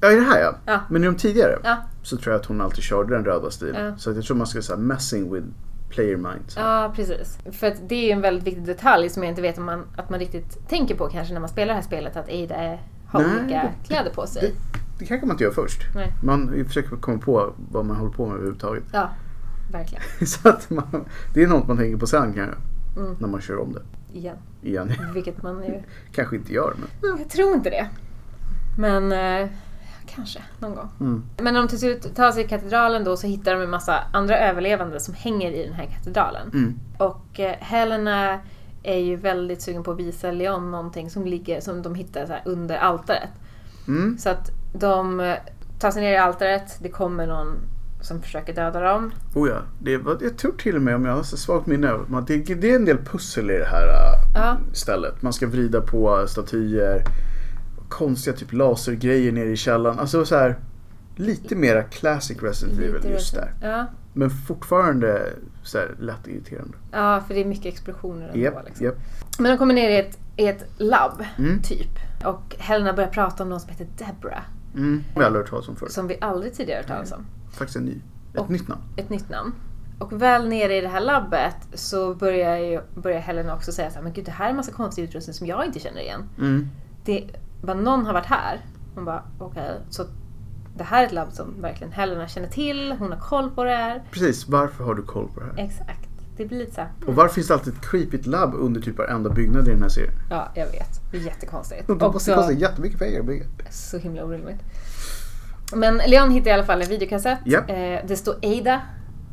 Speaker 1: Ja, i det här ja.
Speaker 3: Ja.
Speaker 1: Men i de tidigare
Speaker 3: Ja,
Speaker 1: så tror jag att hon alltid körde den röda stilen.
Speaker 3: Ja.
Speaker 1: Så att jag tror man ska säga messing with player mind. Så.
Speaker 3: Ja, precis. För att det är ju en väldigt viktig detalj som jag inte vet om man, att man riktigt tänker på kanske när man spelar det här spelet, att Ada är- har
Speaker 1: Nej,
Speaker 3: olika
Speaker 1: det-
Speaker 3: kläder på sig.
Speaker 1: Det, det kanske man inte gör först.
Speaker 3: Nej.
Speaker 1: Man försöker komma på vad man håller på med överhuvudtaget.
Speaker 3: Ja, verkligen.
Speaker 1: Så att man, det är något man tänker på sen kanske.
Speaker 3: Mm.
Speaker 1: När man kör om det
Speaker 3: Igen.
Speaker 1: igen.
Speaker 3: Vilket man ju...
Speaker 1: kanske inte gör men.
Speaker 3: Jag tror inte det. Men eh, Kanske, någon gång.
Speaker 1: Mm.
Speaker 3: Men när de till slut tar sig i katedralen då så hittar de en massa andra överlevande som hänger i den här katedralen.
Speaker 1: Mm.
Speaker 3: Och eh, Helena är ju väldigt sugen på att visa Leon någonting som ligger, som de hittar så här under altaret.
Speaker 1: Mm.
Speaker 3: Så att de eh, tar sig ner i altaret, det kommer någon som försöker döda dem.
Speaker 1: Oh ja, det var, jag tror till och med om jag har så svagt minne. av- Man, det, det är en del pussel i det här äh,
Speaker 3: Ja.
Speaker 1: stället. Man ska vrida på statyer. Konstiga typ lasergrejer nere i källaren. Alltså så här, lite mera classic Resident Evil
Speaker 3: Lite
Speaker 1: just
Speaker 3: rösen.
Speaker 1: där.
Speaker 3: Ja.
Speaker 1: Men fortfarande så här, lätt irriterande.
Speaker 3: ja, för det är mycket explosioner ändå.
Speaker 1: Japp,
Speaker 3: liksom.
Speaker 1: japp.
Speaker 3: Men de kommer ner i ett, i ett labb,
Speaker 1: Mm.
Speaker 3: typ. Och Helena börjar prata om någon som heter Deborah.
Speaker 1: Mm. Jag har aldrig hört talas om förut.
Speaker 3: Som vi aldrig tidigare hört talas om.
Speaker 1: Faktiskt en ny. Ett
Speaker 3: Och-
Speaker 1: nytt namn.
Speaker 3: ett nytt namn. Och väl nere i det här labbet så börjar, ju, börjar Helen också säga så här, men gud det här är en massa konstig utrustning som jag inte känner igen.
Speaker 1: Mm.
Speaker 3: Det, bara någon har varit här. Hon bara, okej. Så det här är ett labb som verkligen Helena känner till, hon har koll på det här.
Speaker 1: Precis, varför har du koll på det här?
Speaker 3: Exakt. Det blir lite så här,
Speaker 1: Och varför finns det alltid ett creepigt labb under typ varenda byggnad i den här serien?
Speaker 3: ja jag vet. Det är jättekonstigt.
Speaker 1: Det
Speaker 3: Och
Speaker 1: kostar
Speaker 3: så,
Speaker 1: jättemycket pengar att bygga.
Speaker 3: så himla orimligt. Men Leon hittar i alla fall en videokassett.
Speaker 1: Japp.
Speaker 3: Eh, det står Ada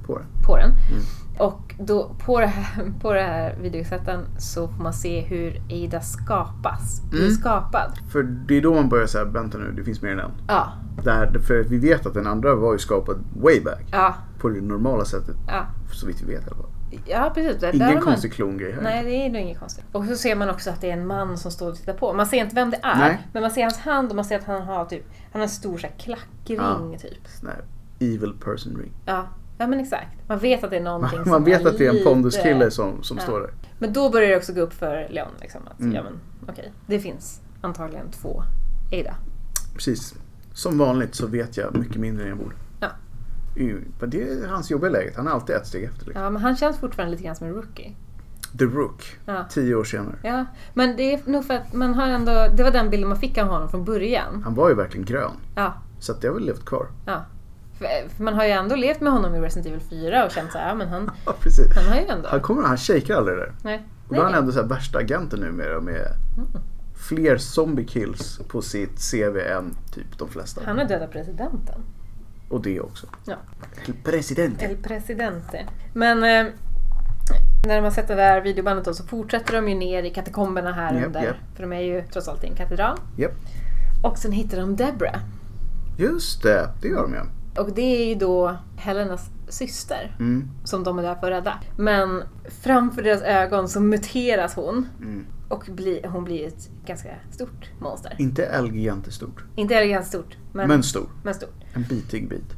Speaker 1: På det.
Speaker 3: på den.
Speaker 1: Mm.
Speaker 3: Och då, på, det här, på det här videokassetten så får man se hur Ada skapas. Blir
Speaker 1: Mm.
Speaker 3: skapad.
Speaker 1: För det är då man börjar säga, vänta nu, det finns mer än en.
Speaker 3: Ja,
Speaker 1: Där, för vi vet att den andra var ju skapad way back.
Speaker 3: ja,
Speaker 1: På det normala sättet,
Speaker 3: ja.
Speaker 1: så vitt vi vet i alla fall.
Speaker 3: Ja, precis. Där har
Speaker 1: Ingen
Speaker 3: man-
Speaker 1: konstig klongrej här.
Speaker 3: Nej, det är nog inget konstigt. Och så ser man också att det är en man som står och tittar på. Man ser inte vem det är,
Speaker 1: Nej.
Speaker 3: men man ser hans hand och man ser att han har typ, han har en stor så här, klackring. Typ.
Speaker 1: Sån här evil person ring.
Speaker 3: Ja. ja, men exakt. Man vet att det är någonting
Speaker 1: Man,
Speaker 3: som
Speaker 1: man vet att det är en
Speaker 3: lite-
Speaker 1: ponduskille som, som
Speaker 3: Ja.
Speaker 1: står där.
Speaker 3: Men då börjar det också gå upp för Leon. Liksom, att,
Speaker 1: Mm.
Speaker 3: ja, men, okej, det finns antagligen två Ada.
Speaker 1: Precis. Som vanligt så vet jag mycket mindre än jag borde.
Speaker 3: Ja.
Speaker 1: Ju- men Det är hans jobbiga läget, han är alltid ett steg efter. Liksom.
Speaker 3: Ja, men han känns fortfarande lite grann som en rookie.
Speaker 1: The Rook,
Speaker 3: Ja.
Speaker 1: tio år senare.
Speaker 3: Ja, men det är nog för att man har ändå, det var den bilden man fick av honom från början.
Speaker 1: Han var ju verkligen grön.
Speaker 3: Ja,
Speaker 1: Så att det har väl levt kvar.
Speaker 3: ja. För, för man har ju ändå levt med honom i Resident Evil 4 och känt såhär, ja men han,
Speaker 1: Ja, precis.
Speaker 3: han har ju ändå...
Speaker 1: Han kommer han shakar aldrig där.
Speaker 3: Nej.
Speaker 1: Och då är han
Speaker 3: nej. Mm.
Speaker 1: ändå så här värsta agenten numera med fler zombie kills på sitt CV än typ de flesta.
Speaker 3: Han har dödat presidenten.
Speaker 1: Och det också.
Speaker 3: Ja.
Speaker 1: Till president.
Speaker 3: El presidente. Men eh, när man sätter det här videobandet då så fortsätter de ju ner i katakomberna här
Speaker 1: Japp,
Speaker 3: under.
Speaker 1: japp.
Speaker 3: För de är ju trots allt i en katedral.
Speaker 1: Japp.
Speaker 3: Och sen hittar de Deborah.
Speaker 1: Just det, det gör de ju.
Speaker 3: Och det är ju då Helenas syster.
Speaker 1: Mm.
Speaker 3: som de är där för att rädda. Men framför deras ögon så muteras hon
Speaker 1: Mm.
Speaker 3: och blir, hon blir ett ganska stort monster.
Speaker 1: Inte Elg jättestort,
Speaker 3: Inte elegant stort, men, men.
Speaker 1: men stor.
Speaker 3: stort.
Speaker 1: En bitig bit.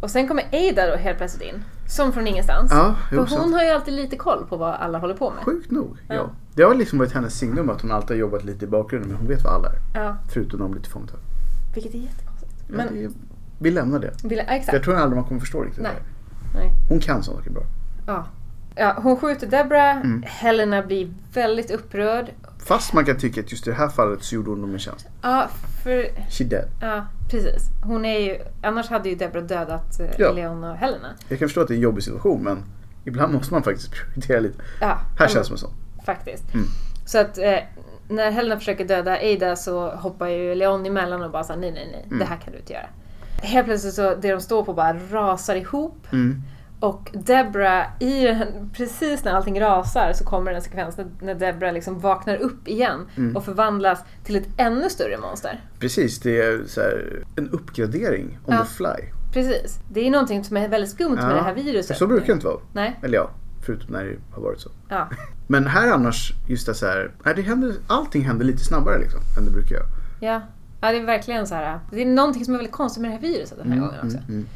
Speaker 3: Och sen kommer Ada då helt plötsligt in, som från ingenstans.
Speaker 1: Ja,
Speaker 3: för
Speaker 1: jo,
Speaker 3: hon
Speaker 1: sant.
Speaker 3: har ju alltid lite koll på vad alla håller på med.
Speaker 1: Sjukt nog. Ja.
Speaker 3: Ja.
Speaker 1: Det har liksom varit hennes signum att hon alltid har jobbat lite i bakgrunden men hon vet vad alla är.
Speaker 3: Ja,
Speaker 1: Förutom de lite fångta.
Speaker 3: vilket är jättekonstigt.
Speaker 1: Men...
Speaker 3: Men,
Speaker 1: det, vi lämnar det.
Speaker 3: vill, ja, exakt.
Speaker 1: Jag tror aldrig man kommer förstå riktigt
Speaker 3: Nej.
Speaker 1: det här.
Speaker 3: Nej.
Speaker 1: Hon kan sånt saker bra.
Speaker 3: Ja. Ja, hon skjuter Deborah,
Speaker 1: Mm.
Speaker 3: Helena blir väldigt upprörd.
Speaker 1: Fast man kan tycka att just i det här fallet så gjorde hon dem en tjänst.
Speaker 3: Ja, för
Speaker 1: She dead.
Speaker 3: Ja, precis. Hon är ju, annars hade ju Deborah dödat eh,
Speaker 1: Ja.
Speaker 3: Leon och Helena.
Speaker 1: Jag kan förstå att det är en jobbig situation men ibland måste man faktiskt prioritera lite.
Speaker 3: Ja,
Speaker 1: Här
Speaker 3: hon-
Speaker 1: känns det som så.
Speaker 3: Faktiskt.
Speaker 1: Mm.
Speaker 3: Så att eh, när Helena försöker döda Ada så hoppar ju Leon emellan och bara säger nej, nej, nej.
Speaker 1: Mm.
Speaker 3: Det här kan du inte göra. Helt plötsligt så, det de står på bara rasar ihop.
Speaker 1: Mm.
Speaker 3: Och Debra, i, den- precis när allting rasar så kommer den sekvens när- när Debra liksom vaknar upp igen
Speaker 1: Mm.
Speaker 3: och förvandlas till ett ännu större monster.
Speaker 1: Precis, det är så här, en uppgradering on
Speaker 3: Ja.
Speaker 1: the fly.
Speaker 3: Precis. Det är någonting som är väldigt skumt
Speaker 1: Ja.
Speaker 3: med det här viruset.
Speaker 1: Så brukar det inte vara.
Speaker 3: Nej.
Speaker 1: Eller ja, förutom när det har varit så.
Speaker 3: Ja.
Speaker 1: Men här annars, just det så här, nej, det händer, allting händer lite snabbare liksom än det brukar göra.
Speaker 3: Ja. ja, det är verkligen så här. Det är någonting som är väldigt konstigt med det här viruset den här gången också.
Speaker 1: mm.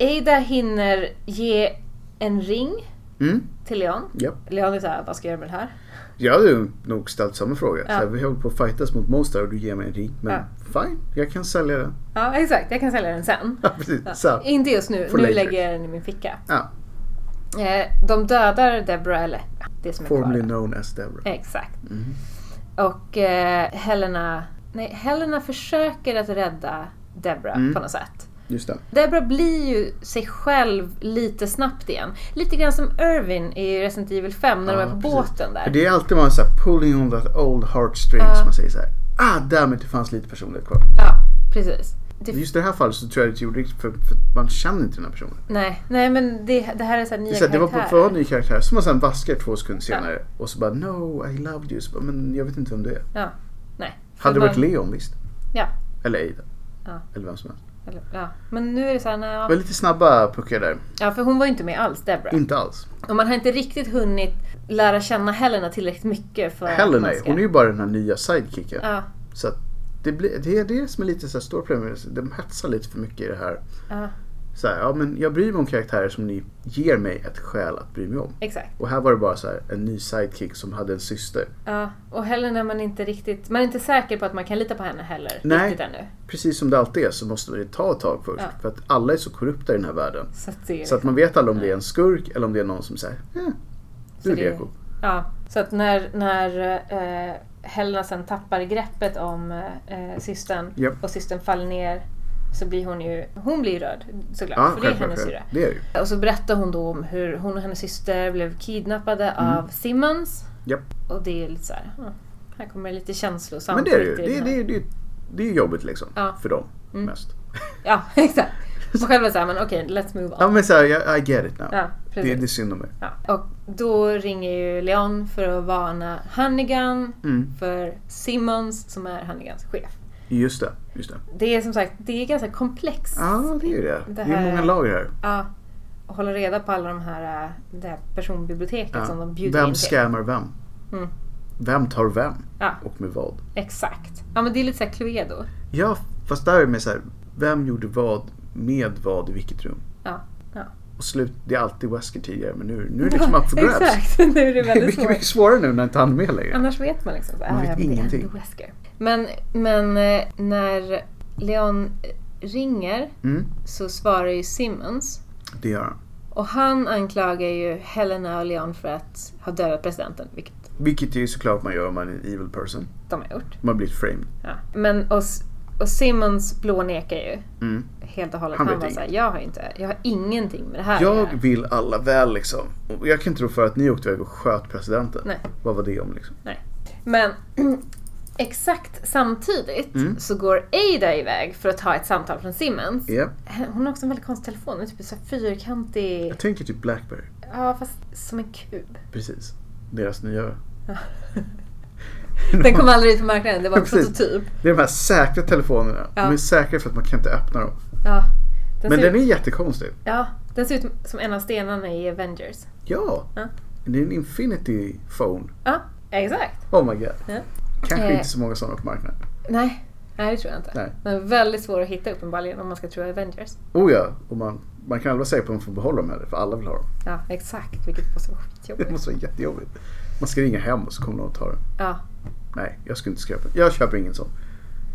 Speaker 3: Ada hinner ge en ring
Speaker 1: Mm,
Speaker 3: till Leon.
Speaker 1: ja.
Speaker 3: Leon är såhär, vad ska jag göra med det här?
Speaker 1: Jag hade ju nog ställt samma fråga. Så
Speaker 3: Ja.
Speaker 1: här, vi håller på att fightas mot Mostar och du ger mig en ring. Men fine, jag kan sälja den.
Speaker 3: Ja, exakt. Jag kan sälja den sen.
Speaker 1: Ja, precis. Så.
Speaker 3: Inte just nu.
Speaker 1: For
Speaker 3: nu
Speaker 1: later.
Speaker 3: lägger jag den i min ficka.
Speaker 1: Ja,
Speaker 3: Eh, de dödar Deborah, eller det som är kvar.
Speaker 1: formerly
Speaker 3: där.
Speaker 1: known as Deborah. Mm,
Speaker 3: Exakt. Och eh, Helena... Nej, Helena försöker att rädda Deborah
Speaker 1: Mm.
Speaker 3: på något sätt.
Speaker 1: Just det.
Speaker 3: Debra blir ju sig själv lite snabbt igen. Lite grann som Irvin i Resident Evil 5 när de
Speaker 1: Ja,
Speaker 3: är på
Speaker 1: precis.
Speaker 3: båten där.
Speaker 1: För det är alltid man säger pulling on that old heartstrings.
Speaker 3: Ja.
Speaker 1: Man säger så här, ah damn it, det fanns lite personlighet kvar.
Speaker 3: Ja, precis. Det-
Speaker 1: Just i det här fallet så tror jag det inte gjorde riktigt för, för man känner inte den här personen.
Speaker 3: Nej, nej men det, det här är så här
Speaker 1: Det,
Speaker 3: nya
Speaker 1: är så här, det var på
Speaker 3: karaktärer.
Speaker 1: för en ny karaktär som man sen vaskar två sekunder senare och så bara No, I loved you. Så bara, men jag vet inte vem du är.
Speaker 3: Ja, nej.
Speaker 1: Hade det
Speaker 3: För
Speaker 1: varit
Speaker 3: man-
Speaker 1: Leon visst?
Speaker 3: Ja.
Speaker 1: Eller Ada.
Speaker 3: Ja.
Speaker 1: Eller vem som helst.
Speaker 3: Eller, ja. Men nu är det så här, nej,
Speaker 1: Det var
Speaker 3: ja.
Speaker 1: lite snabba puckar där.
Speaker 3: ja för hon var ju inte med alls, Deborah.
Speaker 1: Inte alls.
Speaker 3: Och man har inte riktigt hunnit lära känna Helena tillräckligt mycket för
Speaker 1: Heller
Speaker 3: att man
Speaker 1: nej.
Speaker 3: ska...
Speaker 1: Hon är ju bara den här nya sidekicken.
Speaker 3: Ja,
Speaker 1: Så att det, blir, det är det som är lite så här stor problem. med det. De hetsar lite för mycket i det här.
Speaker 3: ja,
Speaker 1: Så här, ja men jag bryr mig om karaktärer som ni ger mig ett skäl att bry mig om.
Speaker 3: exakt.
Speaker 1: Och här var det bara så här, en ny sidekick som hade en syster.
Speaker 3: Ja, och Helena man är inte riktigt... Man är inte säker på att man kan lita på henne heller.
Speaker 1: Nej.
Speaker 3: Riktigt ännu.
Speaker 1: Precis som det alltid är så måste det ta ett tag först.
Speaker 3: Ja.
Speaker 1: För att alla är så korrupta i den här världen.
Speaker 3: Så att det är...
Speaker 1: Så att man vet aldrig om det är en skurk eller om det är någon som säger eh,
Speaker 3: Så
Speaker 1: du är
Speaker 3: det är-
Speaker 1: reko.
Speaker 3: Ja, så att när, när eh, Helena sen tappar greppet om eh, systern
Speaker 1: Ja.
Speaker 3: och systern faller ner så blir hon ju... Hon blir röd såklart,
Speaker 1: Ja,
Speaker 3: för det är
Speaker 1: självklart.
Speaker 3: hennes
Speaker 1: själv.
Speaker 3: syrra.
Speaker 1: Det är det ju.
Speaker 3: Och så berättar hon då om hur hon och hennes syster blev kidnappade av Simmons.
Speaker 1: Mm. Japp.
Speaker 3: Och det är ju lite så här, ja, här kommer lite känslosamt.
Speaker 1: Men det är det ju.
Speaker 3: mitt i
Speaker 1: Det,
Speaker 3: den
Speaker 1: det,
Speaker 3: här-
Speaker 1: det, det, det är ju jobbigt liksom.
Speaker 3: Ja. Mm.
Speaker 1: För dem mest.
Speaker 3: Ja, exakt. Och själva så här, men okej, let's move on.
Speaker 1: Ja men såhär, I get it now.
Speaker 3: Ja,
Speaker 1: det,
Speaker 3: precis.
Speaker 1: är- det är synd om mig.
Speaker 3: Ja. Och då ringer ju Leon för att varna Hannigan
Speaker 1: Mm.
Speaker 3: för Simmons som är Hannigans chef.
Speaker 1: Just det. Just det.
Speaker 3: Det är som sagt, det är ganska komplext.
Speaker 1: Ja, det är ju det.
Speaker 3: Det
Speaker 1: Det,
Speaker 3: här-
Speaker 1: är många lager här.
Speaker 3: Ja. Och hålla reda på alla de här, äh, det här personbiblioteket som de bjuder
Speaker 1: vem
Speaker 3: in till.
Speaker 1: scammar vem?
Speaker 3: Mm.
Speaker 1: Vem tar vem?
Speaker 3: Ja.
Speaker 1: Och med vad?
Speaker 3: Exakt. Ja men det är lite såhär Cluedo.
Speaker 1: Ja, fast där är med så här, vem gjorde vad med vad i vilket rum?
Speaker 3: Ja, ja.
Speaker 1: Och slut, det är alltid Wesker tidigare men nu, nu är det liksom up for grabs.
Speaker 3: Exakt, nu är det
Speaker 1: Det är
Speaker 3: väldigt
Speaker 1: mycket,
Speaker 3: svårt.
Speaker 1: mycket svårare nu när inte han är med längre.
Speaker 3: Annars vet man liksom. så här,
Speaker 1: Man
Speaker 3: ah,
Speaker 1: vet
Speaker 3: ja, men det är
Speaker 1: ingenting.
Speaker 3: ändå Wesker. Men, men eh, när Leon ringer
Speaker 1: Mm,
Speaker 3: så svarar ju Simmons.
Speaker 1: det gör han.
Speaker 3: Och han anklagar ju Helena och Leon för att ha dödat presidenten, vilket
Speaker 1: Vilket ju såklart man gör om man är en evil person.
Speaker 3: de har gjort.
Speaker 1: Man blir framed.
Speaker 3: Ja. Men, och, S- och Simmons blånekar ju
Speaker 1: Mm.
Speaker 3: helt och hållet.
Speaker 1: Han
Speaker 3: Han,
Speaker 1: vet
Speaker 3: var såhär, jag har, inte, jag har ingenting med det här att
Speaker 1: Jag
Speaker 3: göra.
Speaker 1: vill alla väl liksom. Och jag kan inte tro för att ni åkte iväg och sköt presidenten.
Speaker 3: Nej.
Speaker 1: Vad var det om liksom?
Speaker 3: Men exakt samtidigt
Speaker 1: Mm.
Speaker 3: så går Ada iväg för att ta ett samtal från Simmons.
Speaker 1: Ja,
Speaker 3: Hon har också en väldigt konstig telefon, den är typ så här fyrkantig.
Speaker 1: jag tänker typ Blackberry.
Speaker 3: Ja, fast som en kub.
Speaker 1: Precis. Deras nya...
Speaker 3: Den kom aldrig ut på marknaden, det var en
Speaker 1: Precis.
Speaker 3: prototyp.
Speaker 1: Det är de här säkra telefonerna.
Speaker 3: Ja.
Speaker 1: De är säkra för att man kan inte öppna dem.
Speaker 3: Ja. Den,
Speaker 1: Men
Speaker 3: ser,
Speaker 1: den är jättekonstig.
Speaker 3: ja, den ser ut som en av stenarna i Avengers.
Speaker 1: Ja.
Speaker 3: Ja.
Speaker 1: Det är en Infinity Phone.
Speaker 3: Ja, exakt.
Speaker 1: Oh my god.
Speaker 3: Ja.
Speaker 1: Kanske
Speaker 3: Eh.
Speaker 1: inte så många sådana på marknaden.
Speaker 3: Nej, nej det tror jag inte.
Speaker 1: Nej.
Speaker 3: Men väldigt svår att hitta uppenbarligen om man ska tro Avengers.
Speaker 1: Oh ja, och man, man kan aldrig vara säker på om man får behålla dem heller för alla vill ha dem.
Speaker 3: Ja, exakt. Vilket måste vara
Speaker 1: Det
Speaker 3: skitjobbigt.
Speaker 1: måste vara jättejobbigt. Man ska ringa hem och så kommer någon och tar den.
Speaker 3: Ja.
Speaker 1: Nej, jag skulle inte skräpa. Jag köper ingen sån.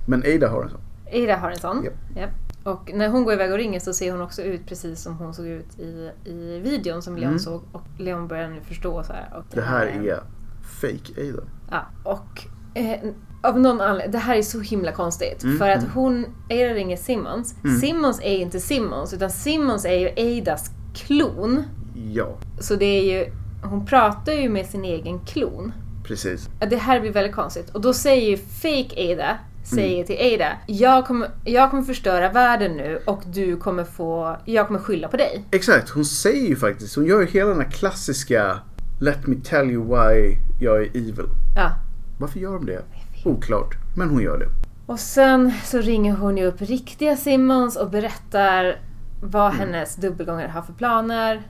Speaker 1: Men Ada har en sån.
Speaker 3: Ada har en sån.
Speaker 1: Japp.
Speaker 3: Japp. Och när hon går iväg och ringer så ser hon också ut precis som hon såg ut i, i videon som Leon
Speaker 1: Mm.
Speaker 3: såg. Och Leon börjar nu förstå så här. Och eh,
Speaker 1: Det här är fake Ada.
Speaker 3: Ja, och eh, av någon anledning, det här är så himla konstigt.
Speaker 1: Mm,
Speaker 3: För att
Speaker 1: mm.
Speaker 3: hon, Ada ringer Simmons.
Speaker 1: Mm.
Speaker 3: Simmons är ju inte Simmons, utan Simmons är ju Adas klon.
Speaker 1: Ja,
Speaker 3: Så det är ju, hon pratar ju med sin egen klon.
Speaker 1: precis.
Speaker 3: Ja, Det här blir väldigt konstigt. Och då säger ju fake Ada, säger
Speaker 1: Mm.
Speaker 3: till Ada, jag kommer, jag kommer förstöra världen nu och du kommer få, jag kommer skylla på dig.
Speaker 1: Exakt, hon säger ju faktiskt, hon gör ju hela den här klassiska Let me tell you why jag är evil.
Speaker 3: Ja.
Speaker 1: Varför gör de det? Oklart, men hon gör det.
Speaker 3: Och sen så ringer hon ju upp riktiga Simmons och berättar vad
Speaker 1: Mm.
Speaker 3: hennes dubbelgångare har för planer.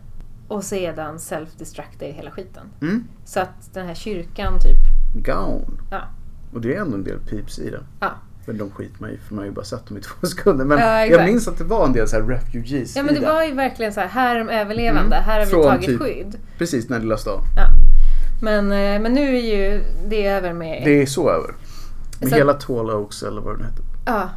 Speaker 3: Och sedan self-destructar ju hela skiten.
Speaker 1: Mm.
Speaker 3: Så att den här kyrkan typ,
Speaker 1: Gown.
Speaker 3: Ja.
Speaker 1: Och det är ändå en del pips i den.
Speaker 3: ja.
Speaker 1: Men de skiter man i för man har ju bara sett dem i två sekunder. Men
Speaker 3: Ja, exakt.
Speaker 1: jag minns att det var en del så här refugees
Speaker 3: Ja men
Speaker 1: i
Speaker 3: det
Speaker 1: den.
Speaker 3: var ju verkligen så här, här är de överlevande,
Speaker 1: Mm.
Speaker 3: här har vi
Speaker 1: Från
Speaker 3: tagit
Speaker 1: typ-
Speaker 3: skydd.
Speaker 1: Precis, den här lilla stan.
Speaker 3: Ja. Men, eh, men nu är ju det över med
Speaker 1: Det är så över. Med
Speaker 3: Så-
Speaker 1: hela Tall Oaks eller vad den heter.
Speaker 3: Ja,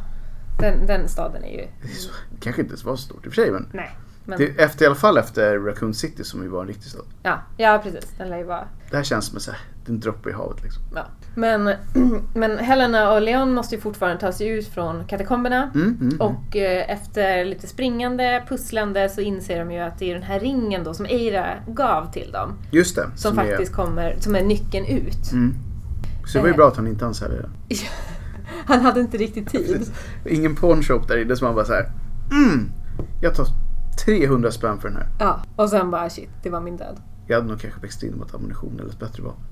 Speaker 3: den, den staden är ju...
Speaker 1: Det är så, kanske inte ens var så stort i och för sig men.
Speaker 3: Nej. Men,
Speaker 1: Det, är efter, I alla fall efter Raccoon City som ju var en riktig stad.
Speaker 3: ja, ja, precis. Den lär ju vara...
Speaker 1: Det här känns som en, så här, en droppe i havet liksom.
Speaker 3: Ja. Men, men Helena och Leon måste ju fortfarande ta sig ut från katakomberna.
Speaker 1: Mm, mm, mm.
Speaker 3: Och eh, efter lite springande, pusslande så inser de ju att det är den här ringen då som Eira gav till dem.
Speaker 1: Just det.
Speaker 3: Som,
Speaker 1: är-
Speaker 3: faktiskt kommer, som är nyckeln ut.
Speaker 1: mm. Så det var ju
Speaker 3: Eh.
Speaker 1: bra att han inte ens hade det.
Speaker 3: Han hade inte riktigt tid.
Speaker 1: Precis. Ingen pornshop där inne som man bara så här. Mm, jag tar 300 spänn för den här.
Speaker 3: Ja, och sen bara shit, det var min död.
Speaker 1: Jag hade nog kanske växt in mot ammunition eller ett bättre vapen.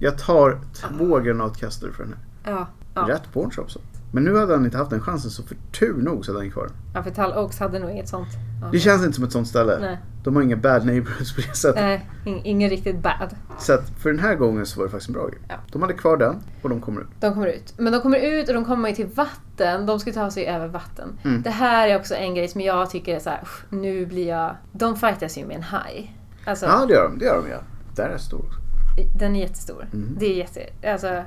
Speaker 1: Jag tar två granatkastare för den här.
Speaker 3: Ja, Ah. ja.
Speaker 1: Rätt pornshop så. Men nu hade han inte haft den chansen så för tur nog så hade han kvar den.
Speaker 3: ja för Tall Oaks hade nog inget sånt. Ja.
Speaker 1: Det känns inte som ett sånt ställe.
Speaker 3: Nej.
Speaker 1: De har inga bad neighbors på det sättet.
Speaker 3: Nej, in- ingen riktigt bad.
Speaker 1: Så att för den här gången så var det faktiskt en bra grej.
Speaker 3: Ja.
Speaker 1: De hade kvar den och de kommer ut.
Speaker 3: De kommer ut. Men de kommer ut och de kommer ju till vatten. De ska ta sig över vatten.
Speaker 1: Mm.
Speaker 3: Det här är också en grej som jag tycker är så här, "Usch, nu blir jag... De fightas ju med en haj. Alltså,
Speaker 1: Ja, det gör de. Det gör de ja. Där är stor också.
Speaker 3: den är jättestor.
Speaker 1: Mm.
Speaker 3: Det är jätte... Alltså,